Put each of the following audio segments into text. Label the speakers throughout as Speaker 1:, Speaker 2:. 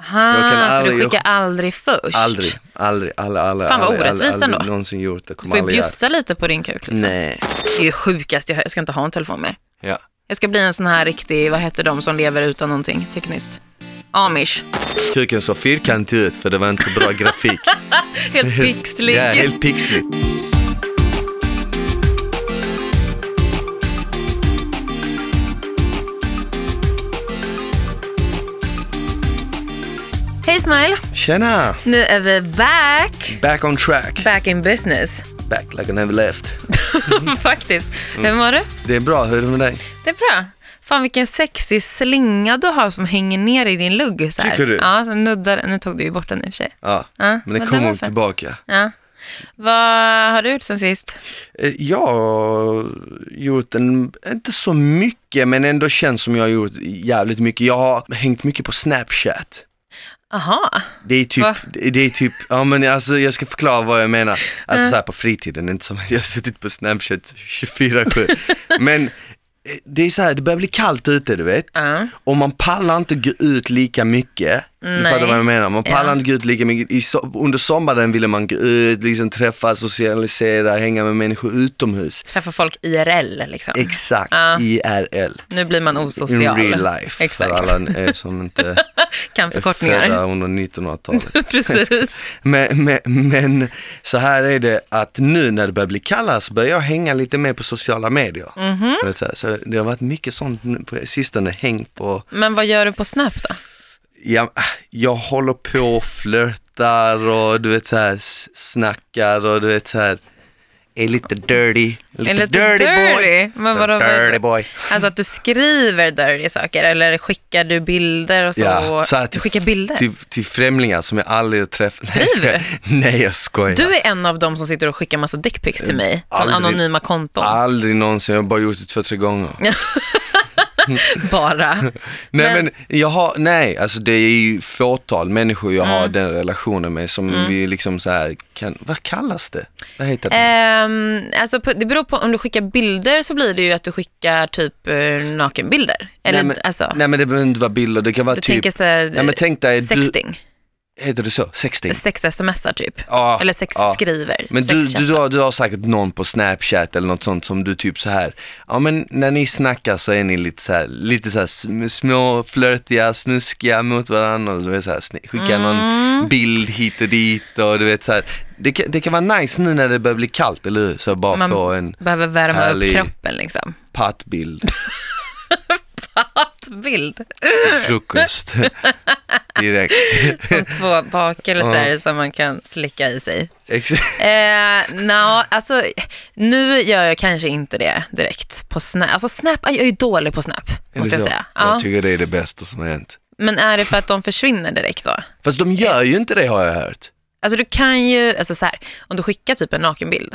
Speaker 1: Jag kan
Speaker 2: Aha, så du
Speaker 1: aldrig-
Speaker 2: skickar aldrig först?
Speaker 1: Aldrig, aldrig, aldrig, aldrig,
Speaker 2: Fan, vad
Speaker 1: aldrig, aldrig,
Speaker 2: orättvist
Speaker 1: aldrig,
Speaker 2: ändå.
Speaker 1: någonsin gjort det.
Speaker 2: Du
Speaker 1: Kommer
Speaker 2: får ju
Speaker 1: aldrig göra.
Speaker 2: bjussa lite på din kuk liksom.
Speaker 1: Nej.
Speaker 2: Det är det sjukaste jag hör. Jag ska inte ha en telefon mer.
Speaker 1: Ja.
Speaker 2: Jag ska bli en sån här riktig, vad heter de som lever utan någonting tekniskt? Amish.
Speaker 1: Kuken såg fyrkantig ut för det var inte bra grafik.
Speaker 2: Helt pixlig.
Speaker 1: Ja, helt pixlig.
Speaker 2: Hej Smile,
Speaker 1: Tjena!
Speaker 2: nu är vi back.
Speaker 1: Back on track.
Speaker 2: Back in business.
Speaker 1: Back like I never left.
Speaker 2: Faktiskt.
Speaker 1: Mm.
Speaker 2: Hur mår du?
Speaker 1: Det är bra, hur är det med dig?
Speaker 2: Det är bra. Fan vilken sexig slinga du har som hänger ner i din lugg. Så här.
Speaker 1: Tycker du?
Speaker 2: Ja, så nuddar, nu tog du ju bort den i och för sig.
Speaker 1: Ja,
Speaker 2: Ja,
Speaker 1: men det
Speaker 2: men
Speaker 1: kommer
Speaker 2: det var för-
Speaker 1: tillbaka.
Speaker 2: Ja. Vad har du gjort sen sist?
Speaker 1: Eh, Jag har gjort en, inte så mycket, men ändå känns som jag har gjort jävligt mycket. Jag har hängt mycket på Snapchat.
Speaker 2: Aha.
Speaker 1: Det är typ,
Speaker 2: Va?
Speaker 1: det det är typ, ja men alltså jag ska förklara vad jag menar. Alltså så här på fritiden, inte som att jag har suttit på Snapchat 24-7. men eh, det är så här, det börjar bli kallt ute du vet.
Speaker 2: Ja.
Speaker 1: Och man pallar inte gå ut lika mycket. Du
Speaker 2: Nej.
Speaker 1: fattar vad jag menar, man pallar
Speaker 2: Ja.
Speaker 1: inte gå ut lika mycket. I so- under sommaren ville man gå ut, liksom träffa, socialisera, hänga med människor utomhus.
Speaker 2: Träffa folk IRL liksom.
Speaker 1: Exakt,
Speaker 2: Ja.
Speaker 1: IRL.
Speaker 2: nu blir man
Speaker 1: In
Speaker 2: osocial.
Speaker 1: real life,
Speaker 2: Exakt.
Speaker 1: för alla eh, som inte
Speaker 2: Kan
Speaker 1: är födda
Speaker 2: förkortningar.
Speaker 1: under 1900-talet.
Speaker 2: Precis.
Speaker 1: Men, men, men så här är det att nu när det börjar bli kallare så börjar jag hänga lite mer på sociala medier.
Speaker 2: Mhm.
Speaker 1: Du vet Så, här, så det har varit mycket sånt nu på sistone, häng på,
Speaker 2: Men vad gör du på Snap då?
Speaker 1: jag, jag håller på och flörtar och du vet så här s- snackar och du vet så här är lite dirty, lite,
Speaker 2: Är lite dirty? Men vadå-
Speaker 1: dirty boy.
Speaker 2: Alltså att du skriver dirty saker eller skickar du bilder och så?
Speaker 1: här
Speaker 2: du skickar bilder?
Speaker 1: Till, till främlingar som jag aldrig har träffat. Nej,
Speaker 2: Driver
Speaker 1: jag skojar. Nej, jag skojar.
Speaker 2: Du är en av dem som sitter och skickar massa dickpics till mig från
Speaker 1: Aldrig. Ah.
Speaker 2: anonyma konton.
Speaker 1: Aldrig någonsin, jag har bara gjort det två, tre gånger.
Speaker 2: Bara.
Speaker 1: Nej
Speaker 2: Men-
Speaker 1: men, jag har, nej alltså det är ju fåtal människor jag
Speaker 2: Mm.
Speaker 1: har den relationen med som vi liksom så här kan, vad kallas det? Vad heter det?
Speaker 2: Ehm, alltså, på- det beror på, om du skickar bilder så blir det ju att du skickar typ eh, nakenbilder. Eller,
Speaker 1: nej, men,
Speaker 2: alltså,
Speaker 1: nej men det behöver inte vara bilder, det kan vara
Speaker 2: du
Speaker 1: typ,
Speaker 2: tänker så här,
Speaker 1: nej men tänk dig, du,
Speaker 2: sexting,
Speaker 1: heter det så? Sexting?
Speaker 2: sex-smsar typ.
Speaker 1: Ja,
Speaker 2: eller sex
Speaker 1: ja.
Speaker 2: skriver.
Speaker 1: Men du,
Speaker 2: sexchat.
Speaker 1: du, du, har, du har säkert någon på snapchat eller något sånt som du typ så här, ja men när ni snackar så är ni lite så här, lite så här sm- små, flörtiga, snuskiga mot varandra och så är det så här, sni- skickar
Speaker 2: Mm.
Speaker 1: någon bild hit och dit och du vet så här. Det kan, det kan vara nice nu när det börjar bli kallt eller hur? Så jag bara
Speaker 2: Man
Speaker 1: få en
Speaker 2: behöver värma
Speaker 1: härlig-
Speaker 2: upp kroppen liksom.
Speaker 1: pattbild
Speaker 2: Pattbild.
Speaker 1: till frukost direkt.
Speaker 2: Som två bakelser som man kan slicka i sig.
Speaker 1: Ex-
Speaker 2: Eh, Nja, alltså nu gör jag kanske inte det direkt på Snap. Alltså Snap, jag är ju dålig på Snap,
Speaker 1: Är det
Speaker 2: måste jag
Speaker 1: så?
Speaker 2: säga. Ja.
Speaker 1: Jag tycker det är det bästa som har hänt.
Speaker 2: Men är det för att de försvinner direkt då?
Speaker 1: Fast de gör ju inte det har jag hört.
Speaker 2: Alltså du kan ju, alltså så här, om du skickar typ en nakenbild,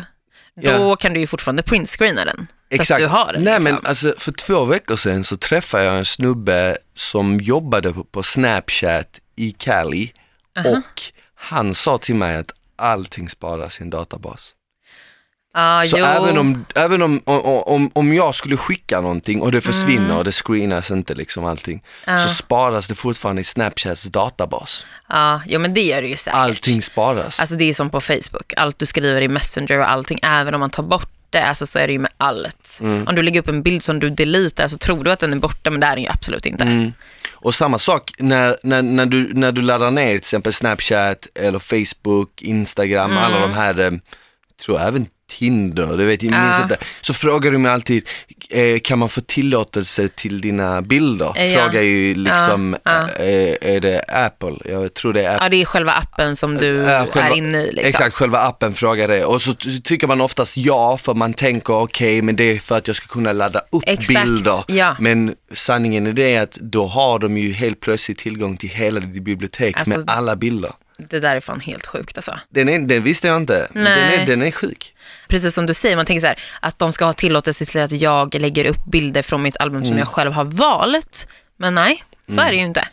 Speaker 2: då
Speaker 1: Ja.
Speaker 2: kan du ju fortfarande printscreena den. Så
Speaker 1: Exakt.
Speaker 2: att du har den.
Speaker 1: Nej men
Speaker 2: liksom.
Speaker 1: alltså för två veckor sedan så träffade jag en snubbe som jobbade på, på Snapchat i Cali och han sa till mig att allting sparas i en databas.
Speaker 2: ah,
Speaker 1: Så
Speaker 2: jo.
Speaker 1: även, om, även om, om, om, om jag skulle skicka någonting och det
Speaker 2: Mm.
Speaker 1: försvinner och det screenas inte liksom allting så sparas det fortfarande i Snapchats databas.
Speaker 2: Ja, jo men det gör du ju säkert.
Speaker 1: Allting sparas.
Speaker 2: Alltså det är som på Facebook, allt du skriver i Messenger och allting, även om man tar bort det, alltså så är det ju med allt. Om du lägger upp en bild som du deletar så tror du att den är borta, men det är den ju absolut inte.
Speaker 1: Och samma sak när, när, när, du, när du laddar ner till exempel Snapchat eller Facebook, Instagram, alla
Speaker 2: Mm.
Speaker 1: de här, eh, tror jag även Tinder, du vet, jag minns
Speaker 2: Ja.
Speaker 1: inte. Så frågar du mig alltid, eh, kan man få tillåtelse till dina bilder?
Speaker 2: Eh, Ja.
Speaker 1: Frågar ju liksom,
Speaker 2: Ja,
Speaker 1: eh, är det Apple? Jag tror det är Apple.
Speaker 2: Ja, det är själva appen som du
Speaker 1: Ja,
Speaker 2: är inne i. Liksom.
Speaker 1: Exakt, själva appen frågar det och så ty- tycker man oftast ja för man tänker okej men det är för att jag ska kunna ladda upp
Speaker 2: Exakt,
Speaker 1: bilder.
Speaker 2: ja.
Speaker 1: Men sanningen är det att då har de ju helt plötsligt tillgång till hela ditt bibliotek
Speaker 2: Alltså-
Speaker 1: med alla bilder.
Speaker 2: Det där är fan helt sjukt alltså.
Speaker 1: Den, är, den visste jag inte, men den är,
Speaker 2: Nej.
Speaker 1: den är sjuk.
Speaker 2: Precis som du säger, man tänker så här, att de ska ha tillåtelse till att jag lägger upp bilder från mitt album
Speaker 1: Mm.
Speaker 2: som jag själv har valt. Men nej, så är det ju inte.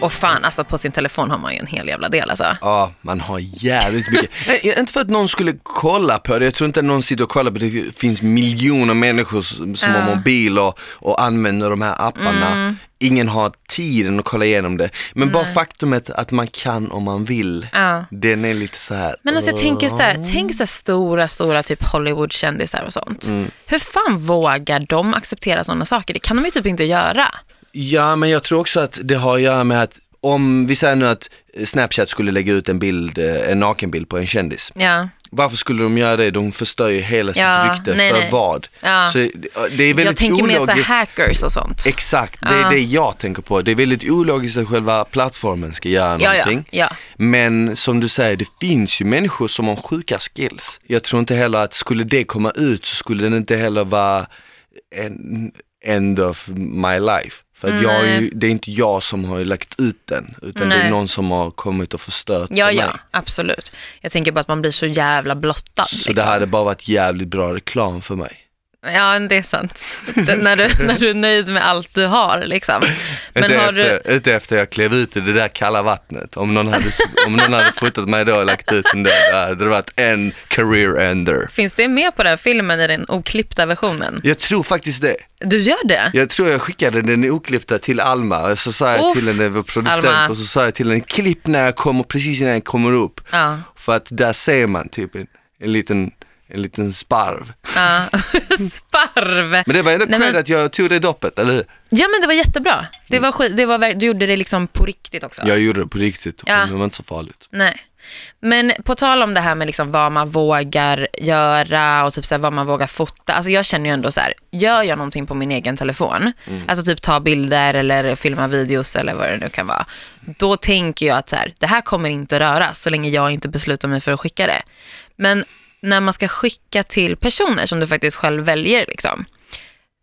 Speaker 2: Och fan, alltså på sin telefon har man ju en hel jävla del alltså.
Speaker 1: Ja, man har jävligt mycket. Nej, inte för att någon skulle kolla på det, jag tror inte någon sitter och kollar på det. Det finns miljoner människor som som har
Speaker 2: Ja. Mm.
Speaker 1: mobil och, och använder de här apparna. Ingen har tiden att kolla igenom det. Men bara faktumet att man kan om man vill,
Speaker 2: Ja.
Speaker 1: den är lite så här.
Speaker 2: Men alltså jag tänker så här, tänk så här stora, stora typ Hollywood-kändisar och sånt.
Speaker 1: Mm.
Speaker 2: Hur fan vågar de acceptera sådana saker? Det kan de ju typ inte göra.
Speaker 1: Ja, men jag tror också att det har att göra med att om vi säger nu att Snapchat skulle lägga ut en bild, eh, en nakenbild på en kändis.
Speaker 2: Ja,
Speaker 1: Varför skulle de göra det? De förstör ju hela
Speaker 2: Ja,
Speaker 1: sitt rykte
Speaker 2: nej,
Speaker 1: för
Speaker 2: nej.
Speaker 1: vad?
Speaker 2: Ja.
Speaker 1: Så det- det är väldigt
Speaker 2: jag tänker mer så här
Speaker 1: ologiskt.
Speaker 2: hackers och sånt.
Speaker 1: Exakt, det är
Speaker 2: Ja.
Speaker 1: det jag tänker på. Det är väldigt ologiskt att själva plattformen ska göra
Speaker 2: Ja,
Speaker 1: någonting.
Speaker 2: ja, ja.
Speaker 1: Men som du säger, det finns ju människor som har sjuka skills. Jag tror inte heller att skulle det komma ut så skulle den inte heller vara en end of my life. För att jag är ju, det är inte jag som har lagt ut den, utan det är
Speaker 2: Nej.
Speaker 1: någon som har kommit och förstört
Speaker 2: Ja,
Speaker 1: för
Speaker 2: ja,
Speaker 1: mig.
Speaker 2: absolut. Jag tänker bara att man blir så jävla blottad.
Speaker 1: Så
Speaker 2: liksom.
Speaker 1: det hade bara varit jävligt bra reklam för mig.
Speaker 2: Ja, det är sant. Det, när, du, när du är nöjd med allt du har liksom. Men
Speaker 1: inte,
Speaker 2: har du...
Speaker 1: efter, inte efter jag klev ut ur det där kalla vattnet. Om någon hade, om någon hade fotat mig då och lagt ut den där, då hade det varit en career ender.
Speaker 2: Finns det med på den filmen i den oklippta versionen?
Speaker 1: Jag tror faktiskt det.
Speaker 2: Du gör det?
Speaker 1: Jag tror jag skickade den oklippta till Alma och så sa jag
Speaker 2: Uff,
Speaker 1: till henne, vår producent,
Speaker 2: Alma.
Speaker 1: och så sa jag till henne, klipp när jag kommer, precis innan jag kommer upp.
Speaker 2: Ja.
Speaker 1: För att där ser man typ en, en liten en liten sparv.
Speaker 2: Ja. Sparv!
Speaker 1: Men det var ändå
Speaker 2: Nej,
Speaker 1: cred
Speaker 2: men-
Speaker 1: att jag tog det i doppet, eller hur?
Speaker 2: Ja men det var jättebra. Det
Speaker 1: Mm.
Speaker 2: var skit, det var, verk- du gjorde det liksom på riktigt också.
Speaker 1: Jag gjorde det på riktigt,
Speaker 2: Ja.
Speaker 1: och det var inte så farligt.
Speaker 2: Nej. Men på tal om det här med liksom vad man vågar göra och typ så här vad man vågar fota. Alltså jag känner ju ändå så här, gör jag någonting på min egen telefon, alltså typ ta bilder eller filma videos eller vad det nu kan vara, då tänker jag att så här, det här kommer inte röras så länge jag inte beslutar mig för att skicka det. Men när man ska skicka till personer som du faktiskt själv väljer, liksom,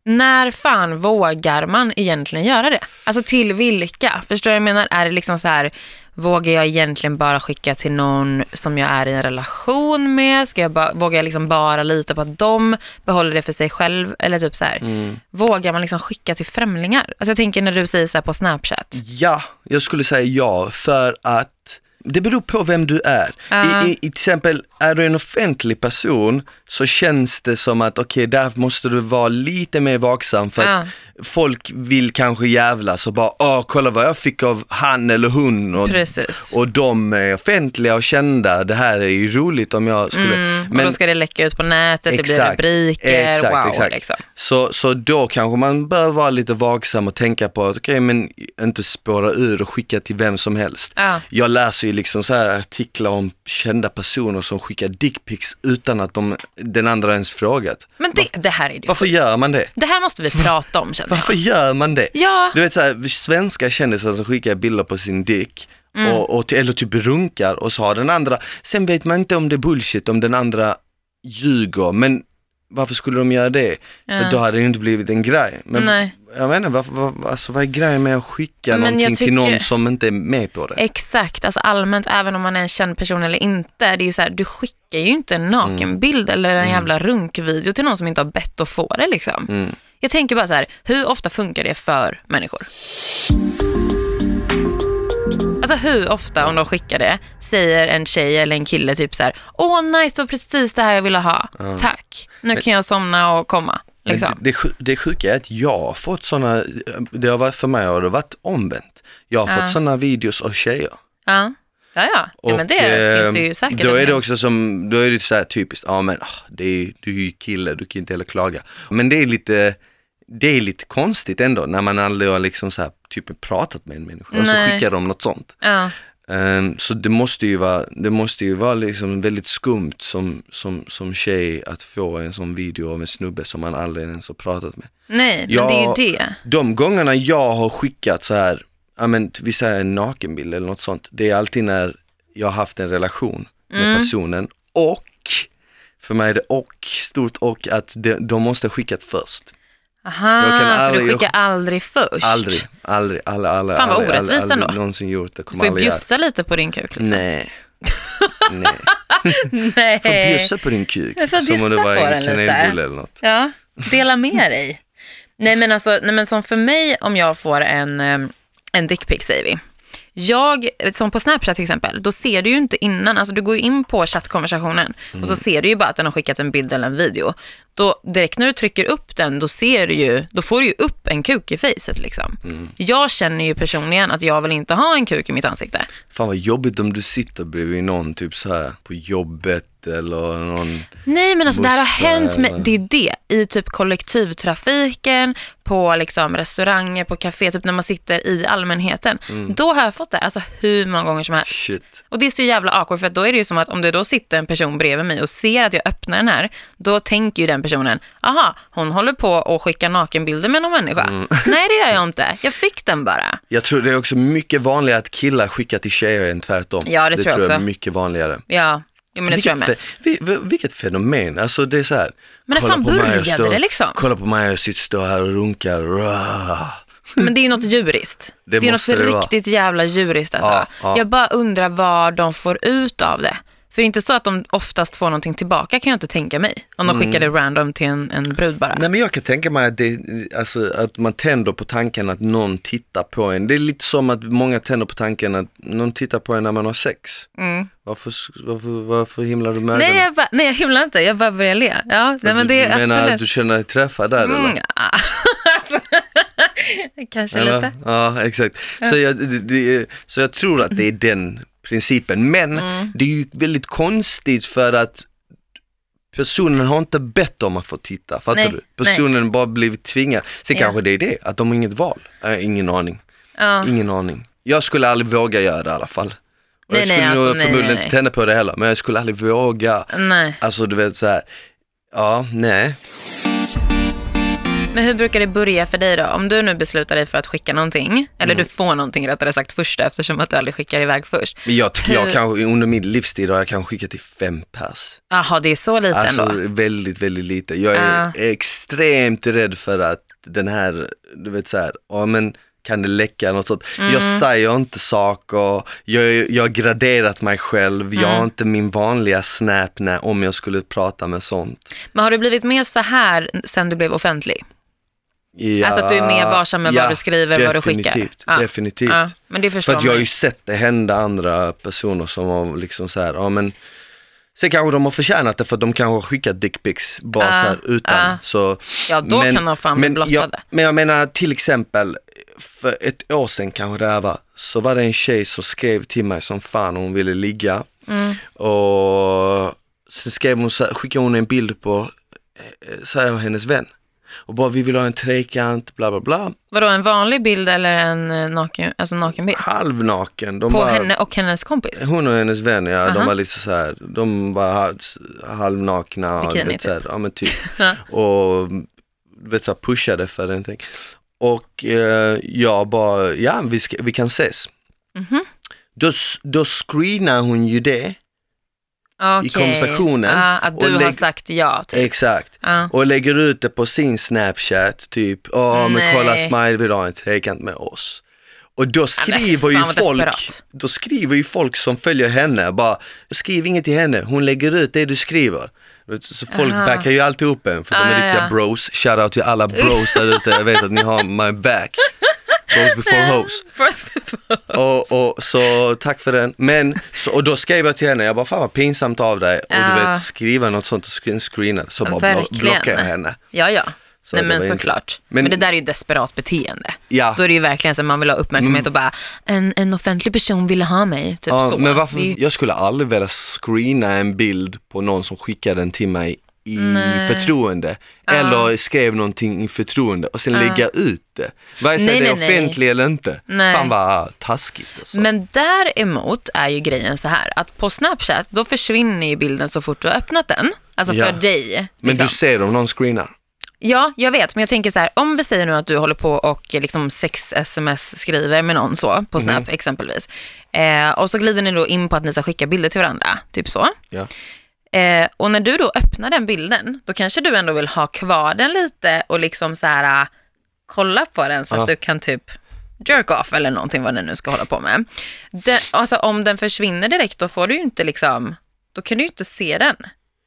Speaker 2: när fan vågar man egentligen göra det? Alltså till vilka? Förstår du vad jag menar? Är det liksom så här, vågar jag egentligen bara skicka till någon som jag är i en relation med? Ska jag bara, vågar jag liksom bara lita på att de behåller det för sig själv? Eller typ så här,
Speaker 1: Mm.
Speaker 2: vågar man liksom skicka till främlingar? Alltså jag tänker när du säger så här på Snapchat.
Speaker 1: Ja, jag skulle säga ja för att det beror på vem du är.
Speaker 2: Ja.
Speaker 1: I, i, i till exempel, är du en offentlig person så känns det som att okej, där måste du vara lite mer vaksam för
Speaker 2: Ah.
Speaker 1: att folk vill kanske jävlas och bara, åh, kolla vad jag fick av han eller hon och,
Speaker 2: Precis.
Speaker 1: och de är offentliga och kända, det här är ju roligt om jag skulle...
Speaker 2: Mm, och då ska det läcka ut på nätet, det blir
Speaker 1: Exakt,
Speaker 2: rubriker,
Speaker 1: exakt,
Speaker 2: wow.
Speaker 1: exakt.
Speaker 2: Liksom.
Speaker 1: Så, så då kanske man bör vara lite vaksam och tänka på att okej men inte spåra ur och skicka till vem som helst.
Speaker 2: Ja.
Speaker 1: Jag läser ju liksom så här artiklar om kända personer som skickar dickpics utan att de, den andra ens frågat.
Speaker 2: Men det, det här är det.
Speaker 1: Varför gör man det?
Speaker 2: Det här måste vi prata om känner jag.
Speaker 1: Varför gör man det?
Speaker 2: Ja,
Speaker 1: Du vet så här, svenska kändisar som skickar bilder på sin dick
Speaker 2: Mm.
Speaker 1: och, och, eller typ runkar och så har den andra, sen vet man inte om det är bullshit, om den andra ljuger, men varför skulle de göra det? För
Speaker 2: Ja.
Speaker 1: då hade det ju inte blivit en grej. Men
Speaker 2: Nej.
Speaker 1: jag menar, varför, var, alltså, vad är grejen med att skicka
Speaker 2: Men jag
Speaker 1: någonting till
Speaker 2: tycker-
Speaker 1: någon som inte är med på det?
Speaker 2: exakt. Alltså allmänt, även om man är en känd person eller inte, det är ju så här, du skickar ju inte
Speaker 1: Mm.
Speaker 2: en nakenbild eller en jävla runkvideo till någon som inte har bett att få det liksom.
Speaker 1: Mm.
Speaker 2: Jag tänker bara så här, hur ofta funkar det för människor? Alltså hur ofta, om de skickar det, säger en tjej eller en kille typ så här, åh nice, det var precis det här jag ville ha, tack, nu kan jag somna och komma.
Speaker 1: Men
Speaker 2: Liksom.
Speaker 1: Det, det, sju- det sjuka är att jag har fått sådana, det har varit för mig har det varit omvänt. Jag har fått sådana videos av tjejer.
Speaker 2: Ja, ja, ja. ja men det
Speaker 1: eh,
Speaker 2: finns det ju säkert.
Speaker 1: Då är det
Speaker 2: en-
Speaker 1: också som, då är det så här typiskt, ja men ah, det är, du är ju kille, du kan inte heller klaga. Men det är lite, det är lite konstigt ändå när man aldrig har liksom så här, typ pratat med en människa och så
Speaker 2: Nej.
Speaker 1: skickar de något sånt.
Speaker 2: ja.
Speaker 1: Ehm, så det måste ju vara, det måste ju vara liksom väldigt skumt som, som, som tjej att få en sån video av en snubbe som man aldrig ens har pratat med.
Speaker 2: Nej, men
Speaker 1: Ja.
Speaker 2: det är ju det.
Speaker 1: De gångerna jag har skickat så här, ja men vi säger en nakenbild eller något sånt, det är alltid när jag har haft en relation med
Speaker 2: Mm.
Speaker 1: personen och, för mig är det och, stort och, att de, de måste ha skickat först.
Speaker 2: Aha,
Speaker 1: Jag kan
Speaker 2: så
Speaker 1: aldrig-
Speaker 2: du skickar aldrig först?
Speaker 1: Aldrig, aldrig, aldrig, aldrig,
Speaker 2: Fan, vad
Speaker 1: aldrig, aldrig,
Speaker 2: orättvist
Speaker 1: aldrig,
Speaker 2: ändå.
Speaker 1: någonsin gjort det,
Speaker 2: Du
Speaker 1: kommer
Speaker 2: får ju
Speaker 1: aldrig göra.
Speaker 2: bjussa lite på din kuk. Liksom.
Speaker 1: Nej. Nej,
Speaker 2: Nej.
Speaker 1: får bjussa på din kuk
Speaker 2: Jag Eh, får
Speaker 1: som om det
Speaker 2: bjussa
Speaker 1: var
Speaker 2: på
Speaker 1: en
Speaker 2: den lite.
Speaker 1: kanelbulle eller något.
Speaker 2: Ja, dela med dig. Nej men alltså, nej, men som för mig om jag får en, eh, en ehm, dickpic säger vi. Jag, som på Snapchat till exempel, då ser du ju inte innan, alltså du går ju in på chattkonversationen och så ser du ju bara att den har skickat en bild eller en video. Då direkt när du trycker upp den, då ser du ju, då får du ju upp en kuk i facet liksom. Jag känner ju personligen att jag vill inte ha en kuk i mitt ansikte.
Speaker 1: Fan vad jobbigt om du sitter bredvid någon typ så här på jobbet eller någon.
Speaker 2: Nej men alltså det här har
Speaker 1: Bussar
Speaker 2: hänt, med,
Speaker 1: eller-
Speaker 2: det är det, i typ kollektivtrafiken, på liksom restauranger, på café, typ när man sitter i allmänheten.
Speaker 1: Mm.
Speaker 2: Då har jag fått det här, alltså hur många gånger som helst.
Speaker 1: Shit.
Speaker 2: Och det är så jävla awkward för att då är det ju som att om det då sitter en person bredvid mig och ser att jag öppnar den här, då tänker ju den personen, aha, hon håller på och skickar nakenbilder med någon människa.
Speaker 1: Mm.
Speaker 2: Nej det gör jag inte, jag fick den bara.
Speaker 1: Jag tror det är också mycket vanligare att killar skickar till tjejer än tvärtom.
Speaker 2: Ja, det tror jag
Speaker 1: är
Speaker 2: också.
Speaker 1: mycket vanligare.
Speaker 2: Ja, jo, men det tror jag med.
Speaker 1: fe- vi, vi, vilket fenomen, alltså det är så här.
Speaker 2: Men när
Speaker 1: kolla
Speaker 2: fan
Speaker 1: på mig, jag
Speaker 2: började
Speaker 1: står-
Speaker 2: det liksom?
Speaker 1: Kolla på mig, jag sitter står här och runkar. Rah.
Speaker 2: Men det är ju något djuriskt. Det,
Speaker 1: Det
Speaker 2: är något
Speaker 1: måste det vara.
Speaker 2: riktigt jävla djuriskt alltså.
Speaker 1: Ja, ja.
Speaker 2: Jag bara undrar vad de får ut av det. För det är inte så att de oftast får någonting tillbaka kan jag inte tänka mig. Om de skickar det random till en, en brud bara.
Speaker 1: Mm. Nej men jag kan tänka mig att, det, alltså, att man tänder på tanken att någon tittar på en. Det är lite som att många tänder på tanken att någon tittar på en när man har sex.
Speaker 2: Mm.
Speaker 1: Varför, varför, varför himlar du med
Speaker 2: Nej,
Speaker 1: ögonen?
Speaker 2: jag bara, nej jag himlar inte, jag bara börjar le. Ja, nej, men det
Speaker 1: du
Speaker 2: är
Speaker 1: menar att
Speaker 2: absolut.
Speaker 1: du känner dig träffad där eller?
Speaker 2: Mm, ja. alltså, kanske
Speaker 1: Eller?
Speaker 2: lite.
Speaker 1: Ja, exakt. Så, jag, det- det, så jag tror att det är den principen. Men
Speaker 2: Mm.
Speaker 1: det är ju väldigt konstigt för att personen har inte bett om att få titta, fattar
Speaker 2: Nej,
Speaker 1: du? Personen har bara blivit tvingad. Sen
Speaker 2: Ja.
Speaker 1: kanske det är det, att de har inget val. Äh, ingen aning,
Speaker 2: Ja.
Speaker 1: ingen aning. Jag skulle aldrig våga göra det i alla fall. Och
Speaker 2: Nej,
Speaker 1: jag
Speaker 2: nej,
Speaker 1: skulle
Speaker 2: alltså,
Speaker 1: nog
Speaker 2: nej,
Speaker 1: förmodligen
Speaker 2: nej, nej.
Speaker 1: inte tända på det heller, men jag skulle aldrig våga.
Speaker 2: Nej.
Speaker 1: Alltså du vet så här. ja, nej.
Speaker 2: Men hur brukar det börja för dig då? Om du nu beslutar dig för att skicka någonting, eller
Speaker 1: Mm.
Speaker 2: du får någonting rättare sagt först eftersom att du aldrig skickar iväg först.
Speaker 1: Men jag, tycker
Speaker 2: Hur-
Speaker 1: jag kanske, under min livstid har jag kanske skickat till fem pers.
Speaker 2: Jaha, det är så lite
Speaker 1: Alltså
Speaker 2: ändå.
Speaker 1: väldigt, väldigt lite. Jag är
Speaker 2: Ja.
Speaker 1: extremt rädd för att den här, du vet så här, ja men kan det läcka något sånt.
Speaker 2: Mm.
Speaker 1: Jag säger inte saker, jag, jag har graderat mig själv, jag
Speaker 2: Mm.
Speaker 1: har inte min vanliga snap när, om jag skulle prata med sånt.
Speaker 2: Men har du blivit mer så här sen du blev offentlig?
Speaker 1: Ja,
Speaker 2: Alltså att du är mer varsam med vad du skriver, vad du skickar.
Speaker 1: Definitivt,
Speaker 2: Ja.
Speaker 1: definitivt.
Speaker 2: Ja, men det förstår
Speaker 1: För att jag har
Speaker 2: man.
Speaker 1: ju sett det hända andra personer som har liksom så här, ja men Sen kanske de har förtjänat det för att de kanske har skickat dickpics bara
Speaker 2: Ah,
Speaker 1: så här utan.
Speaker 2: ah.
Speaker 1: Så,
Speaker 2: Ja, då kan de fan bli
Speaker 1: men jag,
Speaker 2: blottade.
Speaker 1: men jag menar till exempel, för ett år sedan kanske det här var, så var det en tjej som skrev till mig som fan hon ville ligga.
Speaker 2: Mm.
Speaker 1: Och sen skrev hon, så här, skickade hon en bild på, eh, så här, hennes vän. Och bara vi vill ha en trekant, bla bla bla.
Speaker 2: Vadå, en vanlig bild eller en eh, naken, alltså nakenbild?
Speaker 1: Halvnaken. De
Speaker 2: På
Speaker 1: bara,
Speaker 2: henne och hennes kompis?
Speaker 1: Hon och hennes vän ja,
Speaker 2: Aha.
Speaker 1: de var lite så här, de var halv- halvnakna och
Speaker 2: Bikini,
Speaker 1: vet, så här, ja, men typ. och vet, så här, pushade för någonting. Och eh, jag bara, ja vi, ska, vi kan ses.
Speaker 2: Mhm.
Speaker 1: Då, s- då screenar hon ju det,
Speaker 2: Okej.
Speaker 1: I konversationen.
Speaker 2: Ja, att du
Speaker 1: Och lägg-
Speaker 2: har sagt ja, typ.
Speaker 1: exakt.
Speaker 2: Ja.
Speaker 1: Och lägger ut det på sin snapchat, typ, ja men kolla
Speaker 2: Nej.
Speaker 1: Smile vill ha en trekant med oss. Och då
Speaker 2: Ja, men
Speaker 1: skriver
Speaker 2: fan
Speaker 1: ju
Speaker 2: vad
Speaker 1: folk,
Speaker 2: desperat.
Speaker 1: då skriver ju folk som följer henne bara, skriv inget till henne, hon lägger ut det du skriver. Så folk
Speaker 2: Aha.
Speaker 1: backar ju alltid upp en för de
Speaker 2: Ah,
Speaker 1: är
Speaker 2: ja,
Speaker 1: riktiga
Speaker 2: ja.
Speaker 1: bros, shoutout till alla bros där ute, jag vet att ni har my back. Bros before hoes.
Speaker 2: First before.
Speaker 1: Och, och, så tack för den. Men, så, och då skrev jag till henne, jag bara fan vad pinsamt av dig och du
Speaker 2: Ja.
Speaker 1: vet skriva något sånt och screen- screena så bara blo-
Speaker 2: Verkligen.
Speaker 1: blockar jag henne.
Speaker 2: Ja, ja.
Speaker 1: Så
Speaker 2: Nej
Speaker 1: det
Speaker 2: men
Speaker 1: var inte-
Speaker 2: såklart. Men,
Speaker 1: Men- Ah.
Speaker 2: det där är ju desperat beteende.
Speaker 1: Ja.
Speaker 2: Då är det typ ju verkligen så att man vill ha uppmärksamhet och bara, en, en offentlig person ville ha mig, typ
Speaker 1: Mm. Ja,
Speaker 2: så.
Speaker 1: men varför,
Speaker 2: Det är ju-
Speaker 1: jag skulle aldrig vilja screena en bild på någon som skickade den till mig i
Speaker 2: Nej.
Speaker 1: förtroende. Eller skrev någonting i förtroende och sen lägga ut det. Vare sig
Speaker 2: Nej,
Speaker 1: det är
Speaker 2: nej, nej.
Speaker 1: offentligt eller inte.
Speaker 2: Nej.
Speaker 1: Fan vad taskigt alltså.
Speaker 2: Men däremot är ju grejen så här att på Snapchat då försvinner ju bilden så fort du har öppnat den. Alltså
Speaker 1: Ja.
Speaker 2: för dig.
Speaker 1: Men
Speaker 2: liksom.
Speaker 1: du ser om någon screenar.
Speaker 2: Ja, jag vet, men jag tänker så här, om vi säger nu att du håller på och eh, liksom sex-sms skriver med någon så, på Snap
Speaker 1: Mm.
Speaker 2: exempelvis. Eh, och så glider ni då in på att ni ska skicka bilder till varandra, typ så.
Speaker 1: Ja.
Speaker 2: Eh, och när du då öppnar den bilden, då kanske du ändå vill ha kvar den lite och liksom så här, ah, kolla på den så att
Speaker 1: Ja.
Speaker 2: du kan typ jerk off eller någonting vad den nu ska hålla på med. Den, alltså om den försvinner direkt, då får du ju inte liksom, då kan du ju inte se den.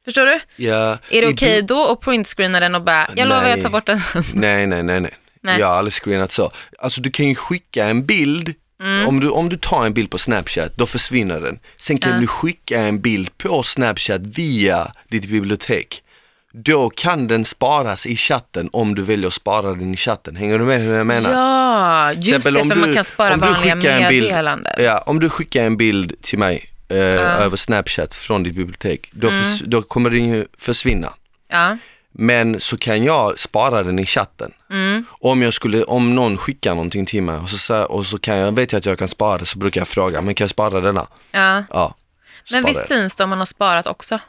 Speaker 2: Förstår du?
Speaker 1: Ja,
Speaker 2: Är det
Speaker 1: i
Speaker 2: okej
Speaker 1: bi-
Speaker 2: då att printscreena den och bara, jag lovar jag
Speaker 1: Nej.
Speaker 2: tar bort den sen.
Speaker 1: Nej, nej, nej, nej.
Speaker 2: Nej.
Speaker 1: Jag har aldrig screenat så. Alltså du kan ju skicka en bild
Speaker 2: Mm.
Speaker 1: Om, du, om du tar en bild på Snapchat, då försvinner den. Sen kan du skicka en bild på Snapchat via ditt bibliotek. Då kan den sparas i chatten om du väljer att spara den i chatten. Hänger du med hur jag menar?
Speaker 2: Ja, just
Speaker 1: Till exempel
Speaker 2: det, för man kan spara
Speaker 1: om du
Speaker 2: vanliga
Speaker 1: skickar en bild-
Speaker 2: meddelanden.
Speaker 1: Ja, om du skickar en bild till mig eh, över Snapchat från ditt bibliotek, då,
Speaker 2: Mm.
Speaker 1: förs- då kommer den ju försvinna.
Speaker 2: Ja.
Speaker 1: Men så kan jag spara den i chatten.
Speaker 2: Mm.
Speaker 1: Om, jag skulle, om någon skickar någonting till mig och så, sa- och så kan jag, vet jag att jag kan spara det så brukar jag fråga, men kan jag spara denna?
Speaker 2: Ja.
Speaker 1: Ja.
Speaker 2: Men
Speaker 1: spara
Speaker 2: visst
Speaker 1: det.
Speaker 2: syns det om man har sparat också?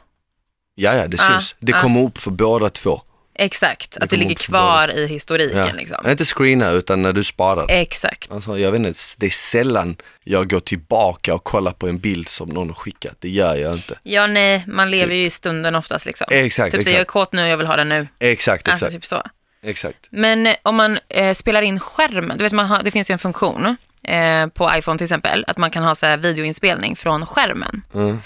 Speaker 1: Ja, ja, det
Speaker 2: Ja,
Speaker 1: syns. Det
Speaker 2: ja.
Speaker 1: kommer upp för båda två.
Speaker 2: Exakt, att det
Speaker 1: kommer
Speaker 2: ligger
Speaker 1: upp på bladet.
Speaker 2: kvar i historiken.
Speaker 1: Ja.
Speaker 2: Liksom. Eh.
Speaker 1: Inte screena utan när du sparar.
Speaker 2: Exakt.
Speaker 1: Alltså, jag vet inte, det är sällan jag går tillbaka och kollar på en bild som någon har skickat. Det gör jag inte.
Speaker 2: Ja, nej, man lever ju i stunden oftast. Liksom.
Speaker 1: Typ. Exakt,
Speaker 2: typ så,
Speaker 1: exakt.
Speaker 2: jag är kåt nu och jag vill ha den nu.
Speaker 1: Exakt, exakt.
Speaker 2: Alltså, typ så.
Speaker 1: Exakt.
Speaker 2: Men eh, om man eh, spelar in skärmen, du vet, man har, det finns ju en funktion eh, på iPhone till exempel, att man kan ha så här, videoinspelning från skärmen.
Speaker 1: Mm.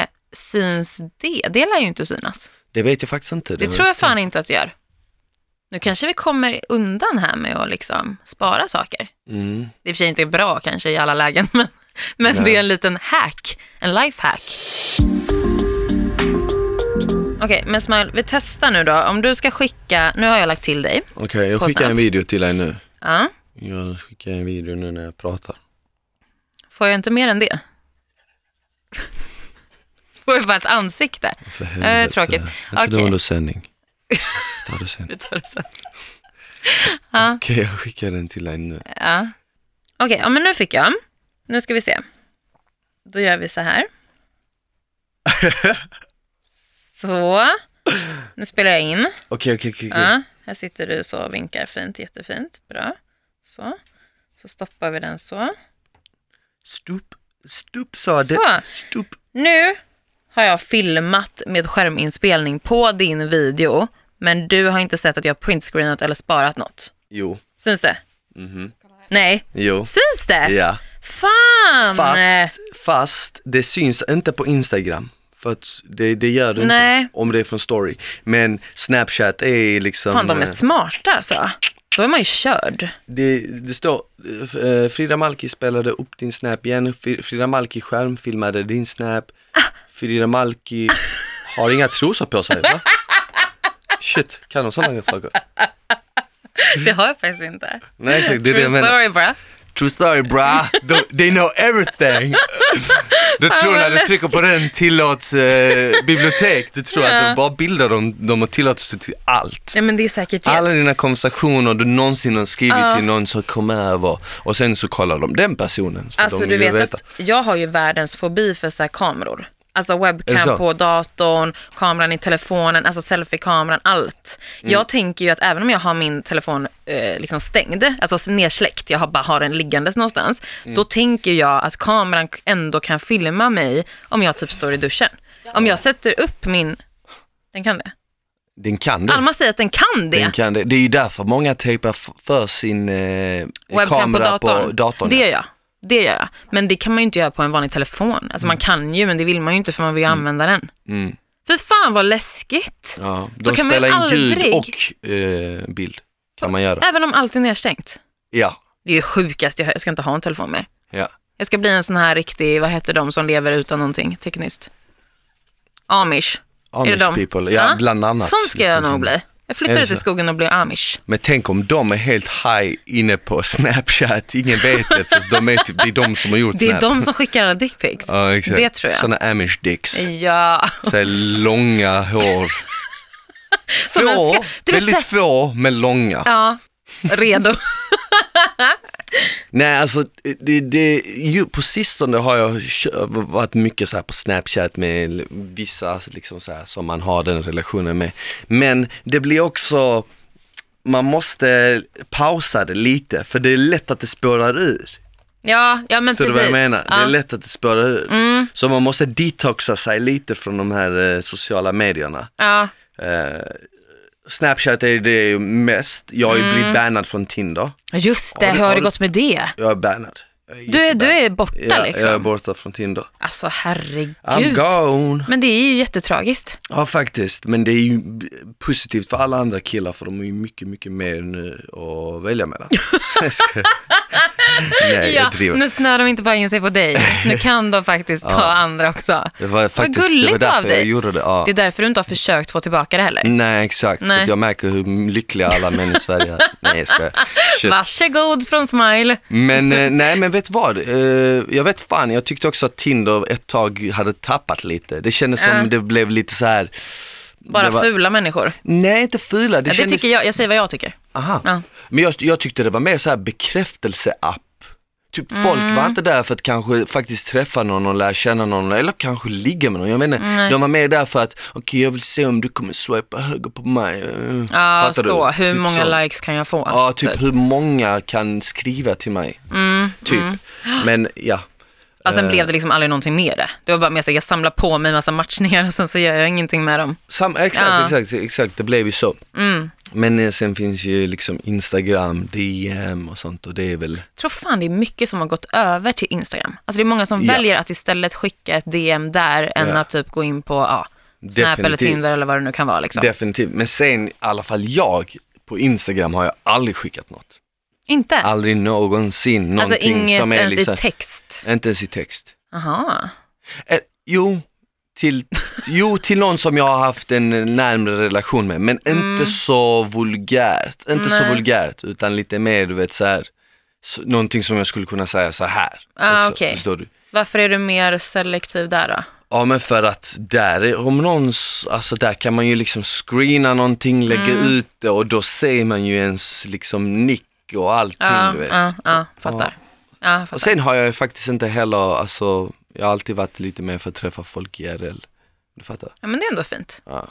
Speaker 2: Eh, syns det? Det lär ju inte synas.
Speaker 1: Det vet jag faktiskt inte.
Speaker 2: Det tror jag fan inte att det gör. Nu kanske vi kommer undan här med att liksom spara saker.
Speaker 1: Mm.
Speaker 2: Det i och för sig inte är bra kanske i alla lägen, men, men
Speaker 1: Nej.
Speaker 2: det är en liten hack, en lifehack. Okej, men Smile, vi testar nu då. Om du ska skicka, nu har jag lagt till dig.
Speaker 1: Okej, jag
Speaker 2: På
Speaker 1: skickar
Speaker 2: Snap.
Speaker 1: en video till dig nu.
Speaker 2: Ja.
Speaker 1: Jag skickar en video nu när jag pratar.
Speaker 2: Får jag inte mer än det? Får jag bara ett ansikte?
Speaker 1: För
Speaker 2: det är
Speaker 1: helvete.
Speaker 2: Eh, tråkigt.
Speaker 1: Inte
Speaker 2: Okej.
Speaker 1: okay. under sändning. Ta det sen.
Speaker 2: Vi tar det sen.
Speaker 1: Okej, jag skickar den till dig nu.
Speaker 2: Ja. Okej, ja, men nu fick jag. Nu ska vi se. Då gör vi så här. Så. Nu spelar jag in.
Speaker 1: Okej, okej, okej. okej.
Speaker 2: Ja, här sitter du så och vinkar fint, jättefint. Bra. Så. Så stoppar vi den så.
Speaker 1: Stup, stup sa det.
Speaker 2: Så.
Speaker 1: Stup.
Speaker 2: Nu har jag filmat med skärminspelning på din video, men du har inte sett att jag printscreenat eller sparat något.
Speaker 1: Jo.
Speaker 2: Syns det?
Speaker 1: Mhm.
Speaker 2: Nej.
Speaker 1: Jo.
Speaker 2: Syns det?
Speaker 1: Ja.
Speaker 2: Fan!
Speaker 1: Fast, fast det syns inte på Instagram. För att det, det gör det
Speaker 2: Nej.
Speaker 1: inte om det är från story. Men Snapchat är liksom...
Speaker 2: Fan, de är
Speaker 1: eh, Mm.
Speaker 2: smarta alltså. Då är man ju körd.
Speaker 1: Det, det står, eh, Frida Malki spelade upp din snap igen, Fri- Frida Malki skärmfilmade din snap, Frida Malki har inga trosor på sig va? Shit, kan de sådana saker?
Speaker 2: Det har jag faktiskt inte.
Speaker 1: Nej exakt, det är det
Speaker 2: True
Speaker 1: jag menar.
Speaker 2: story bra.
Speaker 1: True story bra, De- they know everything. Du tror
Speaker 2: vad
Speaker 1: när du
Speaker 2: läskigt.
Speaker 1: trycker på den tillåts eh, bibliotek, du tror att de bara bildar dem, de har tillåtelse till allt.
Speaker 2: Ja, men det är säkert det.
Speaker 1: Alla dina konversationer du någonsin har skrivit till någon som kom över och sen så kollar de den personen. för
Speaker 2: Alltså
Speaker 1: de
Speaker 2: du
Speaker 1: vill ju
Speaker 2: vet att jag har ju världens fobi för så här kameror. Alltså
Speaker 1: Är det
Speaker 2: webcam
Speaker 1: så?
Speaker 2: på datorn, kameran i telefonen, alltså selfiekameran, allt.
Speaker 1: Mm.
Speaker 2: Jag tänker ju att även om jag har min telefon eh, liksom stängd, alltså nersläckt, jag har bara har den liggandes någonstans,
Speaker 1: Mm.
Speaker 2: då tänker jag att kameran ändå kan filma mig om jag typ står i duschen. Om jag sätter upp min... Den kan det?
Speaker 1: Den kan det.
Speaker 2: Alma säger att den kan det.
Speaker 1: Den kan det. det är ju därför många tejpar f- för sin eh,
Speaker 2: Webcam på
Speaker 1: kamera på datorn.
Speaker 2: datorn. det
Speaker 1: ja.
Speaker 2: gör jag. Det gör jag. Men det kan man ju inte göra på en vanlig telefon. Alltså man kan ju, men det vill man ju inte för man vill ju använda den.
Speaker 1: Mm.
Speaker 2: För fan vad läskigt.
Speaker 1: Ja, de
Speaker 2: Då kan man ju
Speaker 1: spelar in ljud
Speaker 2: aldrig-
Speaker 1: och eh, bild. Kan man göra.
Speaker 2: Även om allt är nedstängt.
Speaker 1: Ja,
Speaker 2: Det är det sjukaste jag hör. Jag ska inte ha en telefon mer.
Speaker 1: ja.
Speaker 2: Jag ska bli en sån här riktig, vad heter de som lever utan någonting tekniskt? Amish.
Speaker 1: Amish
Speaker 2: de?
Speaker 1: people, ja,
Speaker 2: Ja.
Speaker 1: bland annat.
Speaker 2: Sån ska jag nog bli. Jag
Speaker 1: Är det
Speaker 2: flyttar ut i
Speaker 1: så?
Speaker 2: skogen och blir amish.
Speaker 1: Men tänk om de är helt high inne på Snapchat, ingen vet det, fast de är typ, det är de som har gjort
Speaker 2: Det är
Speaker 1: Snap.
Speaker 2: de som skickar alla dickpics.
Speaker 1: Ja, exakt.
Speaker 2: Det tror jag.
Speaker 1: Såna amish dicks.
Speaker 2: Ja,
Speaker 1: Så här långa hår.
Speaker 2: som en
Speaker 1: Få,
Speaker 2: ska- du vet, så
Speaker 1: väldigt
Speaker 2: här,
Speaker 1: få, men långa.
Speaker 2: ja, redo.
Speaker 1: Nej, alltså det, det, ju, på sistone har jag kö- varit mycket så här på Snapchat med l- vissa liksom så här, som man har den relationen med. Men det blir också, man måste pausa det lite för det är lätt att det spårar ur.
Speaker 2: Ja, ja men
Speaker 1: Förstår du
Speaker 2: precis.
Speaker 1: vad jag menar?
Speaker 2: Ja. Mm.
Speaker 1: Det är lätt att det spårar ur. Så man måste detoxa sig lite från de här eh, sociala medierna.
Speaker 2: Ja,
Speaker 1: Eh, Snapchat är det ju mest, jag har ju
Speaker 2: Mm.
Speaker 1: blivit bannad från Tinder.
Speaker 2: just det.
Speaker 1: Har du-
Speaker 2: Hur har
Speaker 1: har
Speaker 2: det
Speaker 1: du-
Speaker 2: gått med det?
Speaker 1: Jag är bannad. Jag är
Speaker 2: Du är,
Speaker 1: jättebannad.
Speaker 2: du är borta
Speaker 1: Ja,
Speaker 2: liksom?
Speaker 1: jag är borta från Tinder.
Speaker 2: Alltså
Speaker 1: I'm
Speaker 2: herregud.
Speaker 1: gone.
Speaker 2: Men det är ju jättetragiskt.
Speaker 1: Ja faktiskt, men det är ju b- positivt för alla andra killar för de är ju mycket, mycket mer nu att välja mellan. Nej,
Speaker 2: ja,
Speaker 1: jag driver.
Speaker 2: nu snör de inte bara in sig på dig. Nu kan de faktiskt ta andra också.
Speaker 1: Det var faktiskt,
Speaker 2: gulligt
Speaker 1: det var
Speaker 2: av
Speaker 1: därför jag
Speaker 2: dig.
Speaker 1: gjorde det. Ja.
Speaker 2: Det är därför du inte har försökt få tillbaka det heller.
Speaker 1: Nej, exakt. För
Speaker 2: Nej.
Speaker 1: att jag märker hur lyckliga alla män i Sverige är. Nej, jag skojar. Shit.
Speaker 2: Varsågod från Smile.
Speaker 1: Men eh, nej men vet vad, Eh, jag vet fan, jag tyckte också att Tinder ett tag hade tappat lite. Det kändes som
Speaker 2: Ja.
Speaker 1: det blev lite så här.
Speaker 2: Bara
Speaker 1: det var-
Speaker 2: fula människor. Det,
Speaker 1: Nej inte fula, det,
Speaker 2: ja, det
Speaker 1: kändes,
Speaker 2: tycker jag, jag säger vad jag tycker.
Speaker 1: aha.
Speaker 2: Ja.
Speaker 1: Men jag, jag tyckte det var mer så här bekräftelseapp. Typ folk
Speaker 2: Mm.
Speaker 1: var inte där för att kanske faktiskt träffa någon och lära känna någon eller kanske ligga med någon, jag vet inte.
Speaker 2: Nej.
Speaker 1: De var mer där för att, okej jag vill se om du kommer swipa höger på mig. Eh,
Speaker 2: Ja,
Speaker 1: fattar
Speaker 2: så.
Speaker 1: du?
Speaker 2: Hur
Speaker 1: Typ
Speaker 2: många
Speaker 1: så.
Speaker 2: likes kan jag få?
Speaker 1: Ja, typ hur många kan skriva till mig.
Speaker 2: Mm,
Speaker 1: typ. Men ja.
Speaker 2: Alltså,
Speaker 1: eh.
Speaker 2: sen blev det liksom aldrig någonting med det. Det var bara mer så här, jag samlar på mig massa matchningar och sen så gör jag ingenting med dem.
Speaker 1: Sam, exakt,
Speaker 2: Ja.
Speaker 1: exakt, exakt, det blev ju så.
Speaker 2: Mm.
Speaker 1: Men eh, sen finns ju liksom Instagram, DM och sånt och det är väl,
Speaker 2: Jag tror fan det är mycket som har gått över till Instagram. Alltså det är många som
Speaker 1: Ja.
Speaker 2: väljer att istället skicka ett DM där än
Speaker 1: Ja.
Speaker 2: att typ gå in på ja, Snap eller
Speaker 1: Definitivt.
Speaker 2: Tinder eller vad det nu kan vara. Liksom.
Speaker 1: definitivt. Men sen i alla fall jag, på Instagram har jag aldrig skickat något.
Speaker 2: Inte?
Speaker 1: Aldrig någonsin
Speaker 2: alltså
Speaker 1: någonting
Speaker 2: inget
Speaker 1: som är
Speaker 2: ens
Speaker 1: liksom,
Speaker 2: i text.
Speaker 1: inte ens i text.
Speaker 2: Aha.
Speaker 1: Eh, jo, till, jo, till någon som jag har haft en närmre relation med, men inte så vulgärt. Inte så
Speaker 2: Mm. Nej.
Speaker 1: vulgärt, utan lite mer du vet så här, så, någonting som jag skulle kunna säga så här.
Speaker 2: Ah,
Speaker 1: också,
Speaker 2: okej.
Speaker 1: Förstår du?
Speaker 2: Varför är du mer selektiv där då?
Speaker 1: Ja men för att där, är- om någon, s- alltså där kan man ju liksom screena någonting, lägga
Speaker 2: Mm.
Speaker 1: ut det och då ser man ju ens liksom nick och allting
Speaker 2: Ja,
Speaker 1: du vet.
Speaker 2: ja, ja, fattar. Ja,
Speaker 1: Och
Speaker 2: fattar.
Speaker 1: sen har jag ju faktiskt inte heller, alltså jag har alltid varit lite mer för att träffa folk i IRL. Du fattar?
Speaker 2: Ja, men det är ändå fint.
Speaker 1: Ja.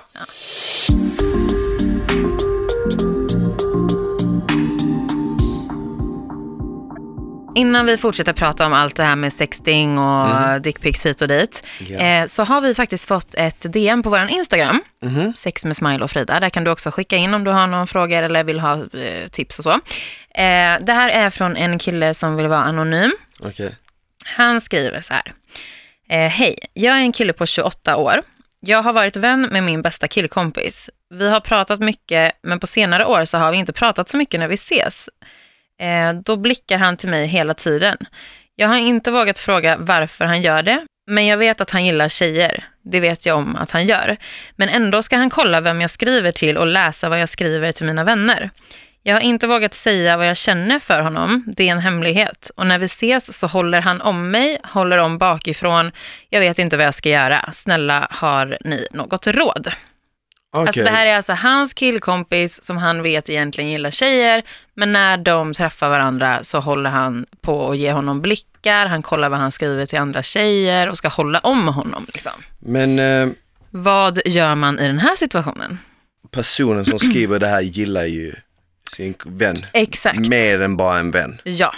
Speaker 2: Innan vi fortsätter prata om allt det här med sexting och dickpics hit och dit,
Speaker 1: Mhm. Ja.
Speaker 2: eh, så har vi faktiskt fått ett DM på vår Instagram, sex med smile och Frida. Där kan du också skicka in om du har någon fråga eller vill ha eh, tips och så. Eh, det här är från en kille som vill vara anonym.
Speaker 1: Okej.
Speaker 2: Han skriver så här. Eh, Hej, jag är en kille på 28 år. Jag har varit vän med min bästa killkompis. Vi har pratat mycket, men på senare år så har vi inte pratat så mycket när vi ses. Eh, då blickar han till mig hela tiden. Jag har inte vågat fråga varför han gör det, men jag vet att han gillar tjejer. Det vet jag om att han gör. Men ändå ska han kolla vem jag skriver till och läsa vad jag skriver till mina vänner. Jag har inte vågat säga vad jag känner för honom. Det är en hemlighet. Och när vi ses så håller han om mig, håller om bakifrån. Jag vet inte vad jag ska göra. Snälla, har ni något råd? Alltså
Speaker 1: Okej.
Speaker 2: det här är alltså hans killkompis som han vet egentligen gillar tjejer, men när de träffar varandra så håller han på att ge honom blickar, han kollar vad han skriver till andra tjejer och ska hålla om honom. Liksom.
Speaker 1: Men eh,
Speaker 2: Vad gör man i den här situationen?
Speaker 1: personen som skriver det här gillar ju sin vän.
Speaker 2: Exakt.
Speaker 1: Mer än bara en vän.
Speaker 2: Ja,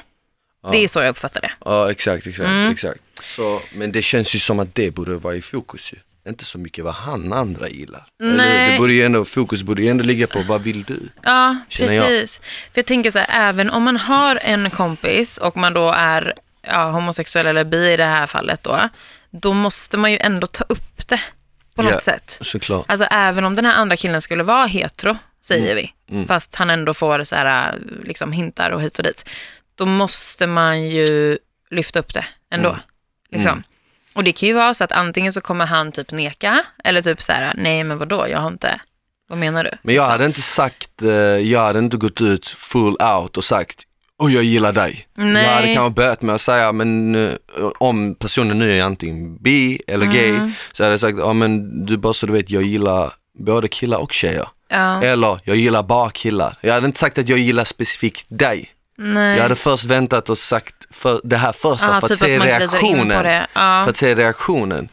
Speaker 2: det är så jag uppfattar det.
Speaker 1: Ja exakt, exakt,
Speaker 2: Mm.
Speaker 1: exakt. Så, men det känns ju som att det borde vara i fokus ju. Inte så mycket vad han andra gillar. Eller,
Speaker 2: Nej.
Speaker 1: det borde ju ändå, fokus borde ju ändå ligga på vad vill du?
Speaker 2: Ja,
Speaker 1: Känner jag.
Speaker 2: precis. För jag tänker så här, även om man har en kompis och man då är ja, homosexuell eller bi i det här fallet då, då måste man ju ändå ta upp det på något
Speaker 1: Ja.
Speaker 2: sätt.
Speaker 1: Såklart.
Speaker 2: Alltså även om den här andra killen skulle vara hetero, säger
Speaker 1: Mm.
Speaker 2: vi, fast han ändå får så här, liksom hintar och hit och dit, då måste man ju lyfta upp det ändå.
Speaker 1: Mm.
Speaker 2: Liksom. Och det kan ju vara så att antingen så kommer han typ neka, eller typ så här, nej men vadå, jag har inte, vad menar du?
Speaker 1: Men jag hade inte sagt, eh, jag hade inte gått ut full out och sagt och jag gillar dig.
Speaker 2: Nej.
Speaker 1: Jag hade kanske börjat med att säga, men eh, om personen nu är antingen bi eller gay,
Speaker 2: Mm.
Speaker 1: så hade jag sagt, ja men du bara så du vet, jag gillar både killar och tjejer.
Speaker 2: Ja,
Speaker 1: Eller, jag gillar bara killar. Jag hade inte sagt att jag gillar specifikt dig.
Speaker 2: nej.
Speaker 1: Eh, Jag hade först väntat och sagt för, det här första
Speaker 2: Ja,
Speaker 1: för,
Speaker 2: typ
Speaker 1: att se
Speaker 2: att man glider in på
Speaker 1: reaktionen,
Speaker 2: det. Ja.
Speaker 1: för att se reaktionen.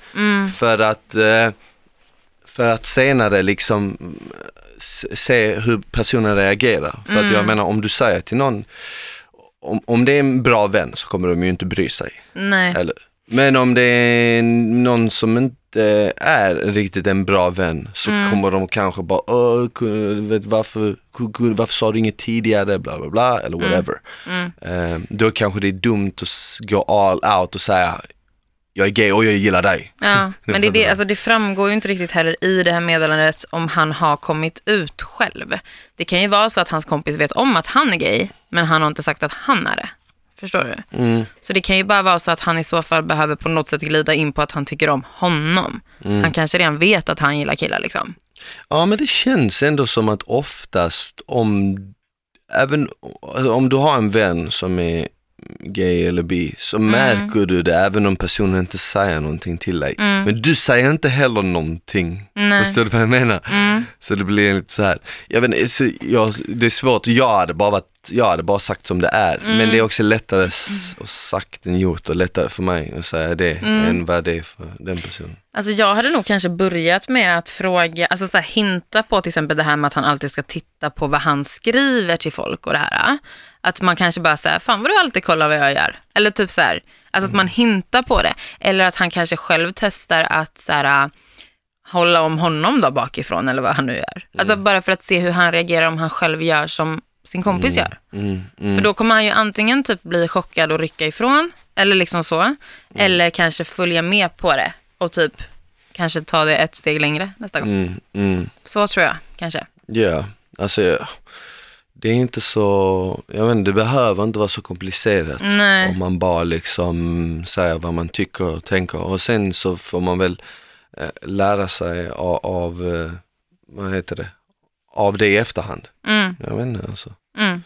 Speaker 1: För att eh, för att senare liksom eh, s- se hur personen reagerar. För att jag menar om du säger till någon, om, om det är en bra vän så kommer de ju inte bry sig.
Speaker 2: nej.
Speaker 1: Eller? Men om det är någon som inte är riktigt en bra vän så kommer de kanske bara, "Åh, ku- vet, varför, ku- ku- varför sa du inget tidigare, bla bla bla, eller whatever. Eh, då kanske det är dumt att s- gå all out och säga, jag är gay och jag gillar dig.
Speaker 2: Ja, men det, är det, alltså det framgår ju inte riktigt heller i det här meddelandet om han har kommit ut själv. Det kan ju vara så att hans kompis vet om att han är gay, men han har inte sagt att han är det. Förstår du?
Speaker 1: Mm.
Speaker 2: Så det kan ju bara vara så att han i så fall behöver på något sätt glida in på att han tycker om honom.
Speaker 1: Mm.
Speaker 2: Han kanske redan vet att han gillar killar liksom.
Speaker 1: Ja, men det känns ändå som att oftast om, även alltså, om du har en vän som är gay eller bi, så märker du det även om personen inte säger någonting till dig. Men du säger inte heller någonting.
Speaker 2: Nej.
Speaker 1: Förstår du vad jag menar? Så det blir lite så här. Jag vet, inte, så jag, det är svårt, jag hade, bara varit, jag hade bara sagt som det är. Men det är också lättare s- och sagt än gjort och lättare för mig att säga det än vad det är för den personen.
Speaker 2: Alltså jag hade nog kanske börjat med att fråga, alltså så här, hinta på till exempel det här med att han alltid ska titta på vad han skriver till folk och det här. äh. Att man kanske bara säger, fan vad du alltid kollar vad jag gör. Eller typ så här, alltså att man hintar på det. Eller att han kanske själv testar att så här, äh, hålla om honom då bakifrån eller vad han nu gör. Alltså bara för att se hur han reagerar om han själv gör som sin kompis gör.
Speaker 1: Mm, mm.
Speaker 2: För då kommer han ju antingen typ bli chockad och rycka ifrån, eller liksom så.
Speaker 1: Mm.
Speaker 2: Eller kanske följa med på det och typ kanske ta det ett steg längre nästa gång.
Speaker 1: Mm, mm.
Speaker 2: Så tror jag kanske.
Speaker 1: Ja, alltså ja. det är inte så, jag vet inte, det behöver inte vara så komplicerat
Speaker 2: Nej.
Speaker 1: om man bara liksom säger vad man tycker och tänker och sen så får man väl eh, lära sig av, av eh, vad heter det, av det i efterhand.
Speaker 2: Mm,
Speaker 1: Jag vet inte alltså.
Speaker 2: mm.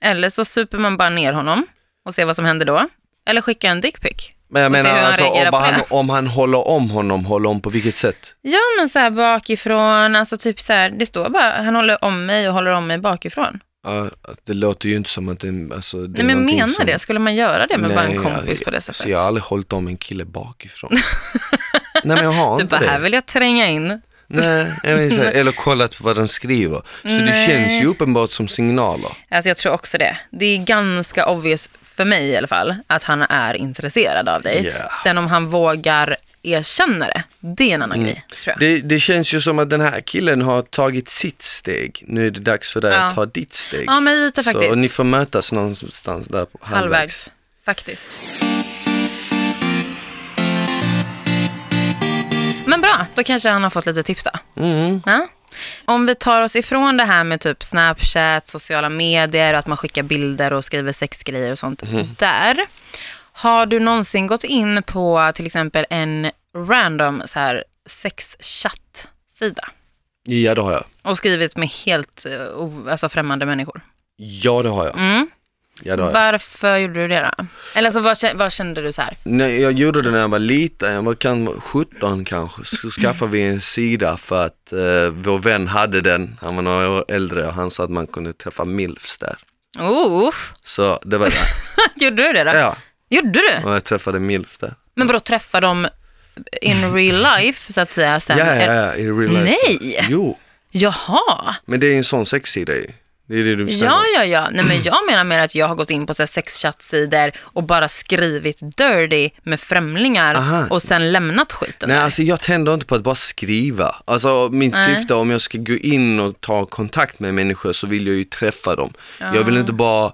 Speaker 2: Eller så super man bara ner honom och ser vad som händer då. Eller skicka en dickpic.
Speaker 1: Men jag
Speaker 2: Och se
Speaker 1: menar
Speaker 2: hur han
Speaker 1: alltså
Speaker 2: reagerar
Speaker 1: om
Speaker 2: på
Speaker 1: han,
Speaker 2: det.
Speaker 1: om han håller om honom, håller om på vilket sätt?
Speaker 2: Ja men så här bakifrån, alltså typ så här, det står bara, han håller om mig och håller om mig bakifrån.
Speaker 1: Ja, att det låter ju inte som att det, alltså, det
Speaker 2: Nej men
Speaker 1: någonting
Speaker 2: menar
Speaker 1: som...
Speaker 2: det, skulle man göra det med bara en
Speaker 1: Nej,
Speaker 2: kompis
Speaker 1: jag,
Speaker 2: på det sättet?
Speaker 1: Så jag har aldrig hållit om en kille bakifrån. Nej men jag har
Speaker 2: du
Speaker 1: inte
Speaker 2: Typ bara,
Speaker 1: det.
Speaker 2: här vill jag tränga in.
Speaker 1: Nej, jag vill säga, eller kollat på vad de skriver. Så det
Speaker 2: Nej.
Speaker 1: känns ju uppenbart som signaler.
Speaker 2: Alltså jag tror också det. Det är ganska obvious, för mig i alla fall, att han är intresserad av dig.
Speaker 1: Ja.
Speaker 2: Sen om han vågar erkänna det, det är en annan grej. Tror jag.
Speaker 1: Det, det känns ju som att den här killen har tagit sitt steg. Nu är det dags för dig
Speaker 2: Ja.
Speaker 1: att ta ditt steg.
Speaker 2: Ja, men lite
Speaker 1: Så,
Speaker 2: faktiskt.
Speaker 1: och ni får mötas någonstans där på halvvägs.
Speaker 2: Halvvägs, faktiskt. Men bra, då kanske han har fått lite tips då. Ja? Om vi tar oss ifrån det här med typ Snapchat, sociala medier och att man skickar bilder och skriver sexgrejer och sånt där. Har du någonsin gått in på till exempel en random så här sexchatt-sida
Speaker 1: Ja, det har jag.
Speaker 2: och skrivit med helt eh, o- alltså främmande människor?
Speaker 1: Ja, det har jag.
Speaker 2: Mm.
Speaker 1: Ja, det har jag.
Speaker 2: Varför gjorde du det då? Eller alltså, vad, kä- vad kände du så här?
Speaker 1: Nej, jag gjorde det när jag var liten, jag var kan, 17 kanske, så skaffade vi en sida för att eh, vår vän hade den, han var några år äldre och han sa att man kunde träffa milfs där.
Speaker 2: Oof.
Speaker 1: Så det var det.
Speaker 2: Oh, Gjorde du det då?
Speaker 1: Ja,
Speaker 2: Gjorde du?
Speaker 1: och jag träffade milfs där.
Speaker 2: Men vadå träffa dem in real life så att säga sen?
Speaker 1: Ja, ja, ja, i real life.
Speaker 2: Nej!
Speaker 1: Jo,
Speaker 2: Jaha!
Speaker 1: men det är en sån sexsida ju. Det är det du snackar
Speaker 2: Ja,
Speaker 1: om.
Speaker 2: ja, ja. Nej, men jag menar mer att jag har gått in på så här sexchattsidor och bara skrivit dirty med främlingar
Speaker 1: Aha.
Speaker 2: och sen lämnat skiten.
Speaker 1: Nej, alltså jag tänder inte på att bara skriva. Alltså mitt
Speaker 2: Nej.
Speaker 1: syfte om jag ska gå in och ta kontakt med människor så vill jag ju träffa dem. Jag vill inte bara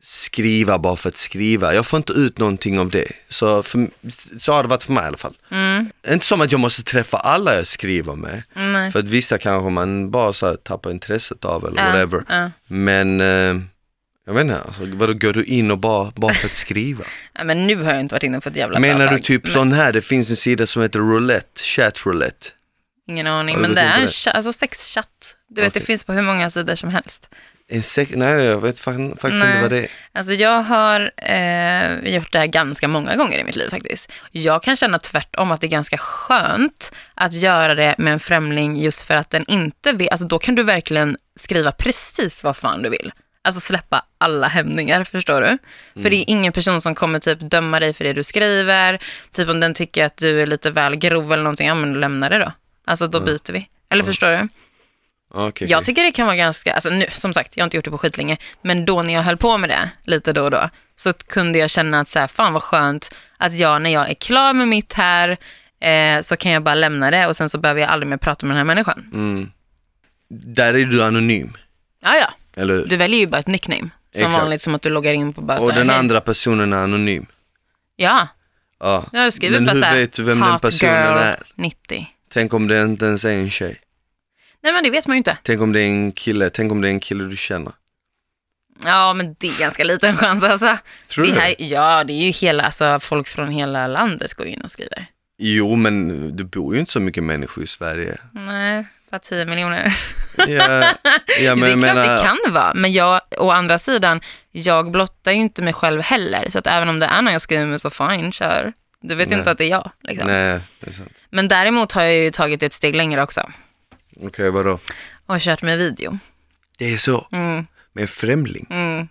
Speaker 1: skriva bara för att skriva. Jag får inte ut någonting av det. Så, för, så har det varit för mig i alla fall. Inte som att jag måste träffa alla jag skriver med.
Speaker 2: Mm. Nej.
Speaker 1: För att vissa kanske man bara så här, tappar intresset av eller
Speaker 2: Ja,
Speaker 1: whatever.
Speaker 2: ja.
Speaker 1: Men eh, jag vet inte, alltså, vadå går du in och bara, bara för att skriva?
Speaker 2: Nej, men nu har jag inte varit inne på ett jävla bra
Speaker 1: Menar du
Speaker 2: tag.
Speaker 1: typ sån här, det finns en sida som heter roulette, chat roulette.
Speaker 2: Ingen aning,
Speaker 1: Har du
Speaker 2: men
Speaker 1: gått
Speaker 2: det
Speaker 1: in på
Speaker 2: är en
Speaker 1: det?
Speaker 2: cha- alltså sexchatt. Du vet, det
Speaker 1: Okej.
Speaker 2: finns på hur många sidor som helst.
Speaker 1: En Eh, sek- nej, jag vet fan, faktiskt
Speaker 2: Nej.
Speaker 1: inte vad det är.
Speaker 2: Alltså jag har eh, gjort det här ganska många gånger i mitt liv faktiskt. Jag kan känna tvärtom att det är ganska skönt att göra det med en främling just för att den inte vet, alltså då kan du verkligen skriva precis vad fan du vill. Alltså släppa alla hämningar, förstår du? För det är ingen person som kommer typ döma dig för det du skriver. Typ om den tycker att du är lite väl grov eller någonting, ja men då lämnar det då. Alltså då byter vi. Eller förstår du?
Speaker 1: Ah, Okej,
Speaker 2: Jag
Speaker 1: okej.
Speaker 2: tycker det kan vara ganska, alltså nu, som sagt, jag har inte gjort det på skitlänge, men då när jag höll på med det lite då och då, så t- kunde jag känna att så här, fan vad skönt att jag, när jag är klar med mitt här, eh, så kan jag bara lämna det och sen så behöver jag aldrig mer prata med den här människan.
Speaker 1: Mm. Där är du anonym,
Speaker 2: Ja, ja.
Speaker 1: eller hur?
Speaker 2: Du väljer ju bara ett nickname, som
Speaker 1: Exakt.
Speaker 2: vanligt som att du loggar in på bara så
Speaker 1: Och
Speaker 2: här,
Speaker 1: den
Speaker 2: hej.
Speaker 1: andra personen är anonym.
Speaker 2: Ja,
Speaker 1: Ja.
Speaker 2: jag skriver
Speaker 1: Men
Speaker 2: bara
Speaker 1: hur
Speaker 2: så här,
Speaker 1: vet du vem den
Speaker 2: hot
Speaker 1: personen
Speaker 2: girl
Speaker 1: är?
Speaker 2: 90.
Speaker 1: Tänk om det inte ens är en tjej.
Speaker 2: Nej men det vet man ju inte.
Speaker 1: Tänk om det är en kille, tänk om det är en kille du känner.
Speaker 2: Ja, men det är ganska liten chans alltså.
Speaker 1: Tror
Speaker 2: det
Speaker 1: du?
Speaker 2: här, Ja, det är ju hela, alltså folk från hela landet går in och skriver.
Speaker 1: Jo, men det bor ju inte så mycket människor i Sverige.
Speaker 2: Nej, bara 10 miljoner.
Speaker 1: Ja, ja, men,
Speaker 2: det är
Speaker 1: jag
Speaker 2: klart
Speaker 1: menar,
Speaker 2: det kan vara, men jag, å andra sidan, jag blottar ju inte mig själv heller. Så att även om det är någon jag skriver med, så fine, kör. Du vet
Speaker 1: Nej.
Speaker 2: inte att det är jag. Liksom.
Speaker 1: Nej, det är sant.
Speaker 2: Men däremot har jag ju tagit ett steg längre också
Speaker 1: Okej, vadå?
Speaker 2: och kört med video.
Speaker 1: Det är så.
Speaker 2: Mm,
Speaker 1: Men främling,
Speaker 2: mm.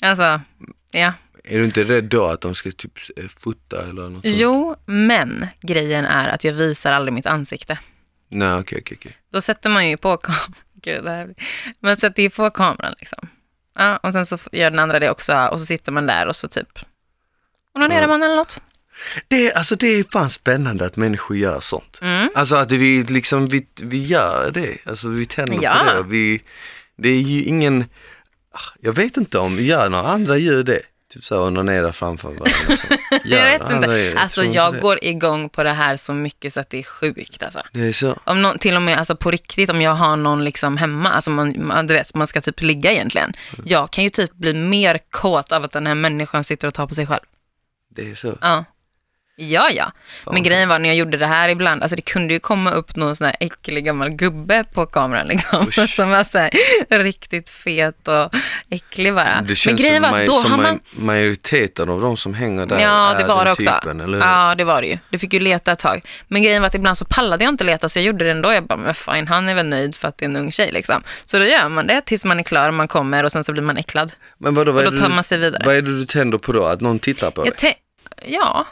Speaker 2: Alltså, ja.
Speaker 1: är du inte rädd då att de ska typ eh, fota eller något sånt?
Speaker 2: Jo, men grejen är att jag visar aldrig mitt ansikte.
Speaker 1: Nej, okej, okej, okej.
Speaker 2: Då sätter man ju på kameran. Gud, det här blir... Man sätter ju på kameran liksom. Ja, och sen så f- gör den andra det också och så sitter man där och så typ onanerar man eller något.
Speaker 1: Det, är- alltså, det är fan spännande att människor gör sånt.
Speaker 2: Mm.
Speaker 1: Alltså att vi liksom, vi, vi gör det. Alltså vi tänder
Speaker 2: Ja.
Speaker 1: på det. Vi, det är ju ingen, ah, jag vet inte om, gör några andra gör det? Typ så här onanera framför varandra. och så. Gör
Speaker 2: Jag vet inte.
Speaker 1: några andra gör det?
Speaker 2: Alltså
Speaker 1: tror inte
Speaker 2: jag
Speaker 1: det.
Speaker 2: går igång på det här så mycket så att det är sjukt alltså.
Speaker 1: Det är så.
Speaker 2: Om någon, till och med alltså på riktigt, om jag har någon liksom hemma, alltså man, man, du vet, man ska typ ligga egentligen.
Speaker 1: Mm.
Speaker 2: Jag kan ju typ bli mer kåt av att den här människan sitter och tar på sig själv.
Speaker 1: Det är så.
Speaker 2: Ja, ja. ja. Men grejen var när jag gjorde det här ibland, alltså det kunde ju komma upp någon sån här äcklig gammal gubbe på kameran liksom.
Speaker 1: Usch.
Speaker 2: Som var så här riktigt fet och äcklig bara.
Speaker 1: Det
Speaker 2: Men
Speaker 1: känns
Speaker 2: grejen
Speaker 1: som,
Speaker 2: var att
Speaker 1: maj-
Speaker 2: då
Speaker 1: som
Speaker 2: har
Speaker 1: maj-
Speaker 2: man...
Speaker 1: majoriteten av de som hänger där
Speaker 2: Ja, det
Speaker 1: är
Speaker 2: var
Speaker 1: den
Speaker 2: det också.
Speaker 1: typen, eller hur?
Speaker 2: Ja, det var det ju. Du fick ju leta ett tag. Men grejen var att ibland så pallade jag inte leta, så jag gjorde det ändå. Jag bara, men fine, han är väl nöjd för att det är en ung tjej liksom. Så då gör man det tills man är klar, man kommer och sen så blir man äcklad.
Speaker 1: Men vadå, vad,
Speaker 2: Och
Speaker 1: är
Speaker 2: då tar
Speaker 1: det,
Speaker 2: man sig vidare.
Speaker 1: vad är det du tänder på då? Att någon tittar på dig?
Speaker 2: Jag te- ja.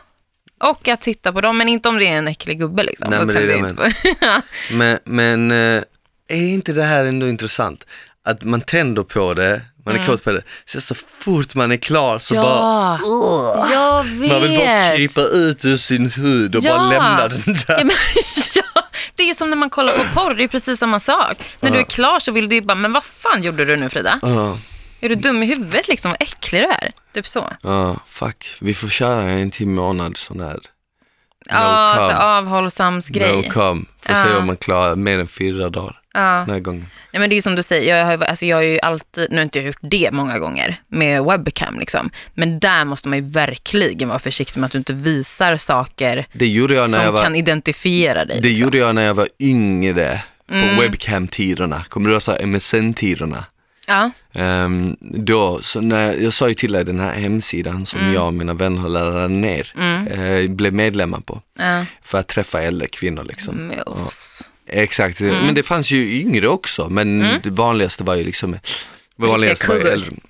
Speaker 2: Och att titta på dem, men inte om det är en äcklig gubbe liksom.
Speaker 1: Nej,
Speaker 2: Då
Speaker 1: men det är
Speaker 2: tänder
Speaker 1: det
Speaker 2: jag inte på.
Speaker 1: Men, men eh, är inte det här ändå intressant? Att man tänder på det, man är kåt på det, sen så fort man är klar så bara
Speaker 2: Mm. ja,
Speaker 1: Ugh.
Speaker 2: jag vet.
Speaker 1: Man vill bara krypa ut ur sin hud och
Speaker 2: Ja.
Speaker 1: bara lämna den
Speaker 2: Ja,
Speaker 1: där.
Speaker 2: men, ja, det är ju som när man kollar på porr, det är ju precis samma sak. När du är klar så vill du ju bara, men vad fan gjorde du nu Frida?
Speaker 1: Ja,
Speaker 2: Är du dum i huvudet liksom? Vad äcklig du är. Typ så.
Speaker 1: ja, fuck. Vi får köra en timme månad sån här
Speaker 2: Ja,
Speaker 1: come.
Speaker 2: så avhållsams
Speaker 1: no
Speaker 2: grej.
Speaker 1: come. Får se
Speaker 2: Ja.
Speaker 1: om man klarar mer än fyra dagar
Speaker 2: Ja.
Speaker 1: den här gången.
Speaker 2: Nej, men det är ju som du säger, jag har, ju- alltså, jag har ju alltid, nu har inte jag gjort det många gånger med webcam liksom. Men där måste man ju verkligen vara försiktig med att du inte visar saker
Speaker 1: Det gjorde jag när jag
Speaker 2: som
Speaker 1: var
Speaker 2: kan identifiera dig. liksom.
Speaker 1: Det
Speaker 2: Mm.
Speaker 1: gjorde jag när jag var yngre på webcam-tiderna, kommer du ihåg så här MSN-tiderna?
Speaker 2: Ja,
Speaker 1: Ehm, då, så när, jag sa ju till dig den här hemsidan som jag och mina vänner laddade ner, eh, blev medlemmar på
Speaker 2: ja.
Speaker 1: för att träffa äldre kvinnor liksom.
Speaker 2: Mm. Mos.
Speaker 1: Exakt, men det fanns ju yngre också men det vanligaste var ju liksom vanligaste var ju
Speaker 2: cougars.
Speaker 1: äldre.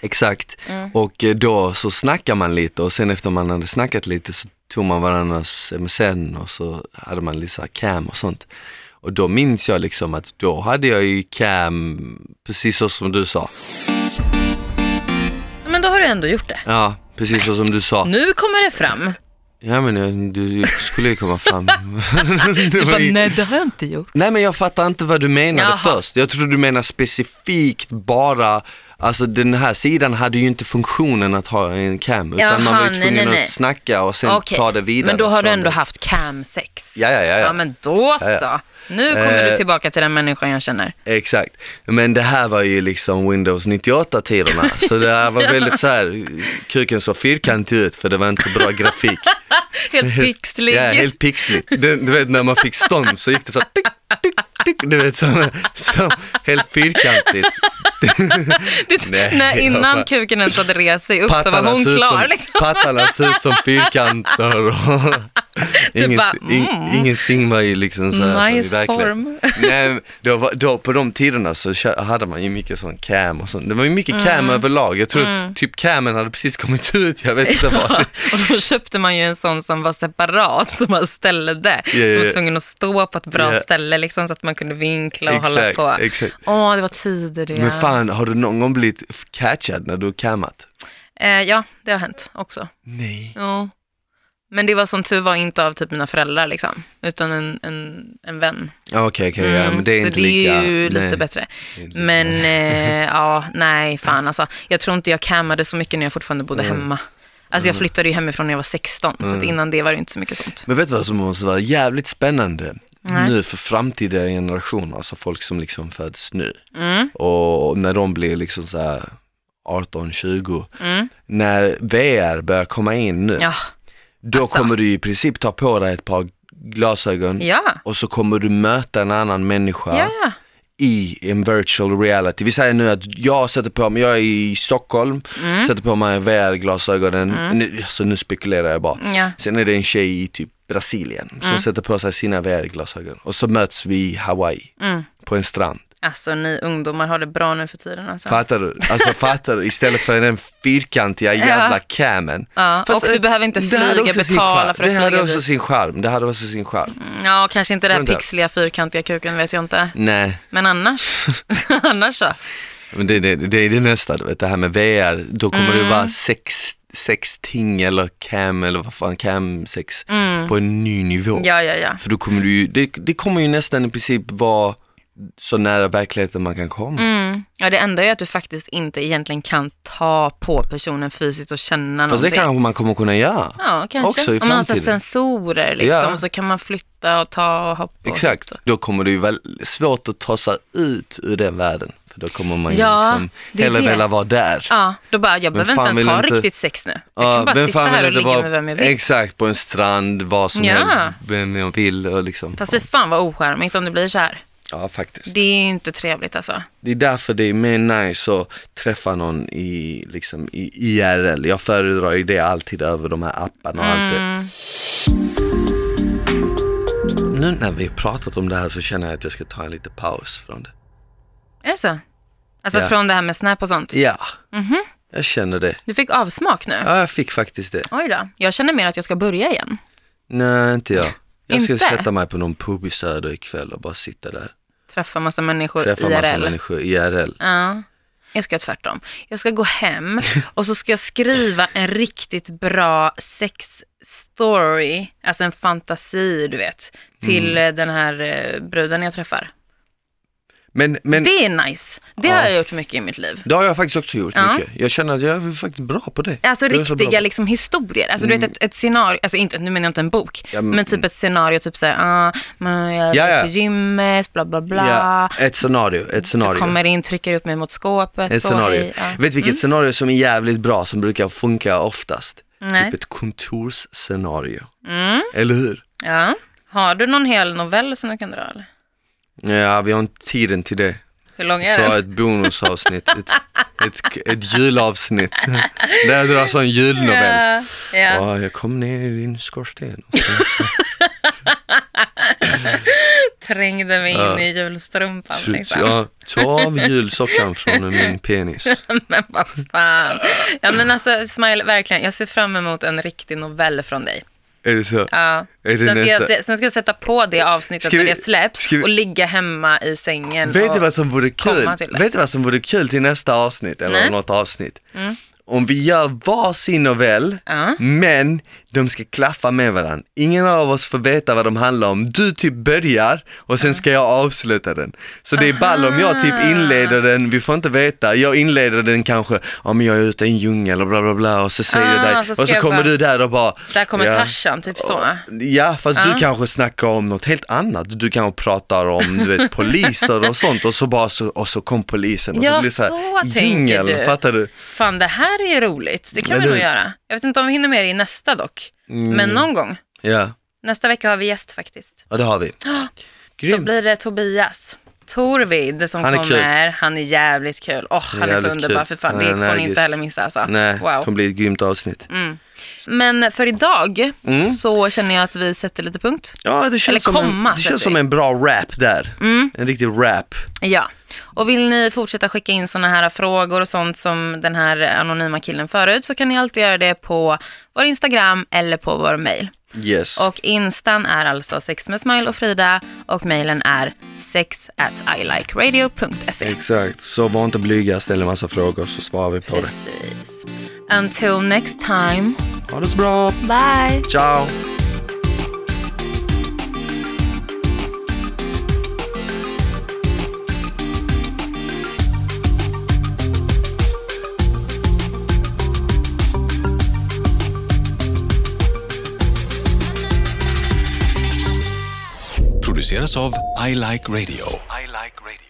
Speaker 1: Exakt, och eh, då så snackar man lite och sen efter man hade snackat lite så tog man varandras MSN och så hade man lite så här cam och sånt. Och då minns jag liksom att då hade jag ju cam, precis så som du sa.
Speaker 2: Ja, Men då har du ändå gjort det.
Speaker 1: Ja, precis så som du sa.
Speaker 2: Nu kommer det fram.
Speaker 1: Ja men eh, du skulle ju komma fram. Det
Speaker 2: Du
Speaker 1: var
Speaker 2: bara,
Speaker 1: ju-
Speaker 2: nej det har jag inte gjort.
Speaker 1: Nej men jag fattar inte vad du menade
Speaker 2: Jaha.
Speaker 1: först. Jag tror du menar specifikt bara, alltså den här sidan hade ju inte funktionen att ha en cam utan man var
Speaker 2: Jaha,
Speaker 1: ju
Speaker 2: nej,
Speaker 1: tvungen
Speaker 2: nej, nej.
Speaker 1: att snacka och sen
Speaker 2: Okej,
Speaker 1: ta det vidare.
Speaker 2: men då har du
Speaker 1: från-
Speaker 2: ändå haft cam-sex.
Speaker 1: Ja, ja, ja, ja.
Speaker 2: Ja, men då så. Nu kommer
Speaker 1: Eh.
Speaker 2: du tillbaka till den människan jag känner.
Speaker 1: Exakt. Men det här var ju liksom Windows 98-tiderna så det här var väldigt så här, kuken såg fyrkantig ut för det var inte bra grafik.
Speaker 2: Helt pixlig.
Speaker 1: Ja, helt pixligt. Du, du vet när man fick stånd så gick det så här, tick, tick, tick, du vet så, så helt fyrkantigt.
Speaker 2: Det-
Speaker 1: Nej,
Speaker 2: när
Speaker 1: jag
Speaker 2: innan
Speaker 1: bara-
Speaker 2: kuken ens hade rest sig upp så var
Speaker 1: pattarna
Speaker 2: hon
Speaker 1: ser ut
Speaker 2: klar.
Speaker 1: som,
Speaker 2: Liksom.
Speaker 1: pattarna ser ut som fyrkanter. och Inget,
Speaker 2: bara,
Speaker 1: ing,
Speaker 2: mm.
Speaker 1: Ingenting var ju liksom så här
Speaker 2: Nice
Speaker 1: som i verkligheten.
Speaker 2: form.
Speaker 1: Nej, men då, var- då, på de tiderna så kö- hade man ju mycket sån cam och sånt. Det var ju mycket cam
Speaker 2: Mm.
Speaker 1: överlag. Jag tror att typ camen hade precis kommit ut. Jag vet inte vad.
Speaker 2: Och då köpte man ju en sån som var separat, som man ställde.
Speaker 1: ja,
Speaker 2: Som
Speaker 1: ja.
Speaker 2: var tvungen att stå på ett bra
Speaker 1: Ja.
Speaker 2: ställe liksom, så att man kunde vinkla och hålla
Speaker 1: Exakt,
Speaker 2: på.
Speaker 1: exakt.
Speaker 2: Åh, det var tider det.
Speaker 1: Men fan, har du någon gång blivit f- catchad när du har cammat?
Speaker 2: Eh, ja, det har hänt också.
Speaker 1: Nej.
Speaker 2: Ja. Men det var som tur var inte av typ mina föräldrar, liksom, utan en, en, en vän.
Speaker 1: Okej, okej, ja,
Speaker 2: Mm,
Speaker 1: men det är
Speaker 2: så
Speaker 1: inte
Speaker 2: det
Speaker 1: lika.
Speaker 2: är ju
Speaker 1: nej. Mm.
Speaker 2: lite bättre.
Speaker 1: Det är inte lika.
Speaker 2: Men eh, ja, nej, fan alltså. Jag tror inte jag cammade så mycket när jag fortfarande bodde hemma. Alltså
Speaker 1: Mm.
Speaker 2: jag flyttade ju hemifrån när jag var 16, så att innan det var det inte så mycket sånt.
Speaker 1: Men vet du vad som måste vara jävligt spännande?
Speaker 2: Nej.
Speaker 1: nu för framtida generationer, alltså folk som liksom föds nu.
Speaker 2: Mm,
Speaker 1: Och när de blir liksom så här 18-20,
Speaker 2: mm.
Speaker 1: när VR börjar komma in nu,
Speaker 2: Ja.
Speaker 1: då
Speaker 2: alltså.
Speaker 1: kommer du i princip ta på dig ett par glasögon
Speaker 2: Ja.
Speaker 1: och så kommer du möta en annan människa
Speaker 2: Ja, ja.
Speaker 1: i en virtual reality. Vi säger nu att jag sätter på mig, jag är i Stockholm,
Speaker 2: Mm.
Speaker 1: sätter på mig VR-glasögonen, nu, alltså nu spekulerar jag bara.
Speaker 2: ja.
Speaker 1: Sen är det en tjej i typ Brasilien som
Speaker 2: Mm.
Speaker 1: sätter på sig sina VR-glasögon och så möts vi i Hawaii
Speaker 2: Mm.
Speaker 1: på en strand.
Speaker 2: Alltså ni ungdomar har det bra nu för tiden alltså.
Speaker 1: Fattar du? Alltså fattar du? Istället för den fyrkantiga jävla camen.
Speaker 2: Ja, och du
Speaker 1: eh,
Speaker 2: behöver inte
Speaker 1: det hade
Speaker 2: flyga,
Speaker 1: också sin
Speaker 2: betala
Speaker 1: charm.
Speaker 2: för att
Speaker 1: Det hade
Speaker 2: flyga
Speaker 1: också
Speaker 2: dit. Mm.
Speaker 1: sin charm, det hade också sin charm.
Speaker 2: Ja, kanske inte den
Speaker 1: Vänta.
Speaker 2: där pixliga fyrkantiga kuken vet jag inte.
Speaker 1: Nej,
Speaker 2: Men annars, annars så.
Speaker 1: Oh. men det, det, det är det nästa, du vet, det här med VR, då kommer
Speaker 2: Mm.
Speaker 1: det vara sex, sex ting eller cam eller vad fan, cam sex på en ny nivå.
Speaker 2: Mm. Ja, ja, ja.
Speaker 1: För då kommer du ju, det, det kommer ju nästan i princip vara så nära verkligheten man kan komma.
Speaker 2: Mm. Ja, det enda är att du faktiskt inte egentligen kan ta på personen fysiskt och känna
Speaker 1: Fast det
Speaker 2: någonting.
Speaker 1: kanske man kommer kunna göra.
Speaker 2: Ja, kanske.
Speaker 1: också i
Speaker 2: Om man har så här
Speaker 1: framtiden.
Speaker 2: sensorer liksom,
Speaker 1: Ja.
Speaker 2: så kan man flytta och ta och hoppa. och-
Speaker 1: Exakt, då kommer det ju väl svårt att ta sig ut ur den världen. För då kommer man ju
Speaker 2: Ja,
Speaker 1: liksom
Speaker 2: det är
Speaker 1: hellre
Speaker 2: det.
Speaker 1: vilja vara där.
Speaker 2: Ja, då bara, jag behöver inte
Speaker 1: fan
Speaker 2: ens
Speaker 1: vill
Speaker 2: ha
Speaker 1: inte-
Speaker 2: riktigt sex nu. Jag
Speaker 1: Ja,
Speaker 2: kan bara sitta här och
Speaker 1: vill
Speaker 2: ligga
Speaker 1: inte
Speaker 2: med vem jag vill.
Speaker 1: Exakt, på en strand, vad som
Speaker 2: Ja.
Speaker 1: helst, vem jag vill och liksom.
Speaker 2: Fast fy fan vad ocharmigt om det blir så här.
Speaker 1: Ja, faktiskt.
Speaker 2: Det är ju inte trevligt alltså.
Speaker 1: Det är därför det är mer nice att träffa någon i, liksom, i IRL. Jag föredrar ju det alltid över de här apparna och allt det.
Speaker 2: Mm.
Speaker 1: Nu när vi pratat om det här så känner jag att jag ska ta en liten paus från det.
Speaker 2: Är det så? Alltså
Speaker 1: Ja.
Speaker 2: från det här med Snap och sånt.
Speaker 1: Ja,
Speaker 2: Mhm.
Speaker 1: jag känner det.
Speaker 2: Du fick avsmak nu.
Speaker 1: Ja, jag fick faktiskt det.
Speaker 2: Oj då. Jag känner mer att jag ska börja igen.
Speaker 1: Nej, inte jag. Jag ska
Speaker 2: Inte?
Speaker 1: sätta mig på någon pub i Söder ikväll och bara sitta där.
Speaker 2: Träffa massa människor
Speaker 1: Träffa massa
Speaker 2: IRL.
Speaker 1: människor IRL.
Speaker 2: Ja. Jag ska göra tvärtom. Jag ska gå hem och så ska jag skriva en riktigt bra sexstory, alltså en fantasi du vet, till
Speaker 1: Mm.
Speaker 2: eh, den här eh, bruden jag träffar.
Speaker 1: Men, men
Speaker 2: Det är nice. Det
Speaker 1: Ja.
Speaker 2: har jag gjort mycket i mitt liv.
Speaker 1: det har jag faktiskt också gjort
Speaker 2: Ja.
Speaker 1: mycket. Jag känner att jag är faktiskt bra på det.
Speaker 2: Alltså
Speaker 1: Jag är så bra
Speaker 2: riktiga
Speaker 1: på-
Speaker 2: liksom historier, alltså du vet ett, ett scenario, alltså inte, nu menar jag inte en bok,
Speaker 1: Ja, men-
Speaker 2: men, typ ett scenario, typ såhär, ah, man jag
Speaker 1: Ja,
Speaker 2: går
Speaker 1: ja.
Speaker 2: på gymmet, bla bla bla.
Speaker 1: Ja, ett scenario, ett
Speaker 2: Du
Speaker 1: scenario.
Speaker 2: kommer in, trycker upp mig mot skåpet.
Speaker 1: Ett
Speaker 2: så,
Speaker 1: scenario.
Speaker 2: hej, ja. Mm.
Speaker 1: Vet vilket scenario som är jävligt bra, som brukar funka oftast?
Speaker 2: Nej.
Speaker 1: Typ ett kontorsscenario.
Speaker 2: Mm.
Speaker 1: Eller hur?
Speaker 2: Ja. Har du någon hel novell som du kan dra? Eller?
Speaker 1: Ja, vi har inte tiden till det.
Speaker 2: Hur lång är
Speaker 1: För
Speaker 2: den?
Speaker 1: ett bonusavsnitt, ett, ett, ett julavsnitt. Där jag drar sån julnovell.
Speaker 2: Ja, ja.
Speaker 1: Ja, jag kom ner i din skorsten.
Speaker 2: Trängde mig in i julstrumpan. Liksom.
Speaker 1: Ja, ta av julsockan från min penis.
Speaker 2: Men vad fan. Ja, men alltså, Smile, verkligen. Jag ser fram emot en riktig novell från dig.
Speaker 1: Är det så?
Speaker 2: Ja.
Speaker 1: Är det
Speaker 2: Sen, ska jag,
Speaker 1: nästa?
Speaker 2: se- sen ska jag sätta på det avsnittet
Speaker 1: Ska vi-
Speaker 2: när det släpps
Speaker 1: ska vi-
Speaker 2: och ligga hemma i sängen.
Speaker 1: Vet
Speaker 2: och,
Speaker 1: du vad som vore kul?
Speaker 2: komma till det.
Speaker 1: Vet du vad som vore kul till nästa avsnitt eller
Speaker 2: Nej. Mm.
Speaker 1: något avsnitt? Om vi gör varsin novell,
Speaker 2: Ja.
Speaker 1: men de ska klaffa med varandra. Ingen av oss får veta vad de handlar om. Du typ börjar och sen ska jag avsluta den. Så det är ball om jag typ inleder den, vi får inte veta. Jag inleder den kanske, ja men jag är ute i en djungel och bla bla bla och så säger
Speaker 2: Ah,
Speaker 1: du dig,
Speaker 2: så ska
Speaker 1: och så
Speaker 2: jag
Speaker 1: kommer
Speaker 2: bara-
Speaker 1: du där och bara
Speaker 2: Där kommer
Speaker 1: ja.
Speaker 2: Tarzan, typ så.
Speaker 1: Ja, fast du kanske snackar om något helt annat. Du kanske pratar om du vet, poliser och sånt och så bara så, och så kom polisen och så
Speaker 2: Ja,
Speaker 1: blir det så här
Speaker 2: så tänker
Speaker 1: jingel,
Speaker 2: du.
Speaker 1: fattar du?
Speaker 2: Fan, det här är ju roligt. Det kan
Speaker 1: Eller
Speaker 2: vi nog
Speaker 1: hur?
Speaker 2: göra. Jag vet inte om vi hinner med det i nästa dock.
Speaker 1: Mm.
Speaker 2: Men någon gång.
Speaker 1: Ja,
Speaker 2: Nästa vecka har vi gäst faktiskt.
Speaker 1: ja det har vi.
Speaker 2: Då
Speaker 1: Grymt.
Speaker 2: blir det Tobias. Torvid som
Speaker 1: Han är
Speaker 2: kommer, han är jävligt kul. Åh, han är så
Speaker 1: jävligt
Speaker 2: underbar,
Speaker 1: kul.
Speaker 2: för fan,
Speaker 1: Han är
Speaker 2: det får ni
Speaker 1: energisk.
Speaker 2: inte heller missa alltså.
Speaker 1: Nej, det
Speaker 2: wow. Mm.
Speaker 1: kommer bli ett grymt avsnitt.
Speaker 2: Men för idag
Speaker 1: Mm.
Speaker 2: så känner jag att vi sätter lite punkt.
Speaker 1: Ja, det
Speaker 2: Eller
Speaker 1: känns, som,
Speaker 2: komma,
Speaker 1: en, det känns
Speaker 2: säger
Speaker 1: som
Speaker 2: vi.
Speaker 1: en bra rap där.
Speaker 2: Mm.
Speaker 1: En riktig rap.
Speaker 2: Ja, och vill ni fortsätta skicka in sådana här frågor och sånt som den här anonyma killen förut så kan ni alltid göra det på vår Instagram eller på vår mail.
Speaker 1: Yes.
Speaker 2: Och instan är alltså sex med Smile och Frida och mailen är sex at ilikeradio.se.
Speaker 1: Exakt, så var inte blyga, ställ en massa frågor så svarar vi på det.
Speaker 2: Precis. Until next time.
Speaker 1: Ha det så bra,
Speaker 2: Bye.
Speaker 1: ciao!
Speaker 3: Produced produceras av I Like Radio. I like radio.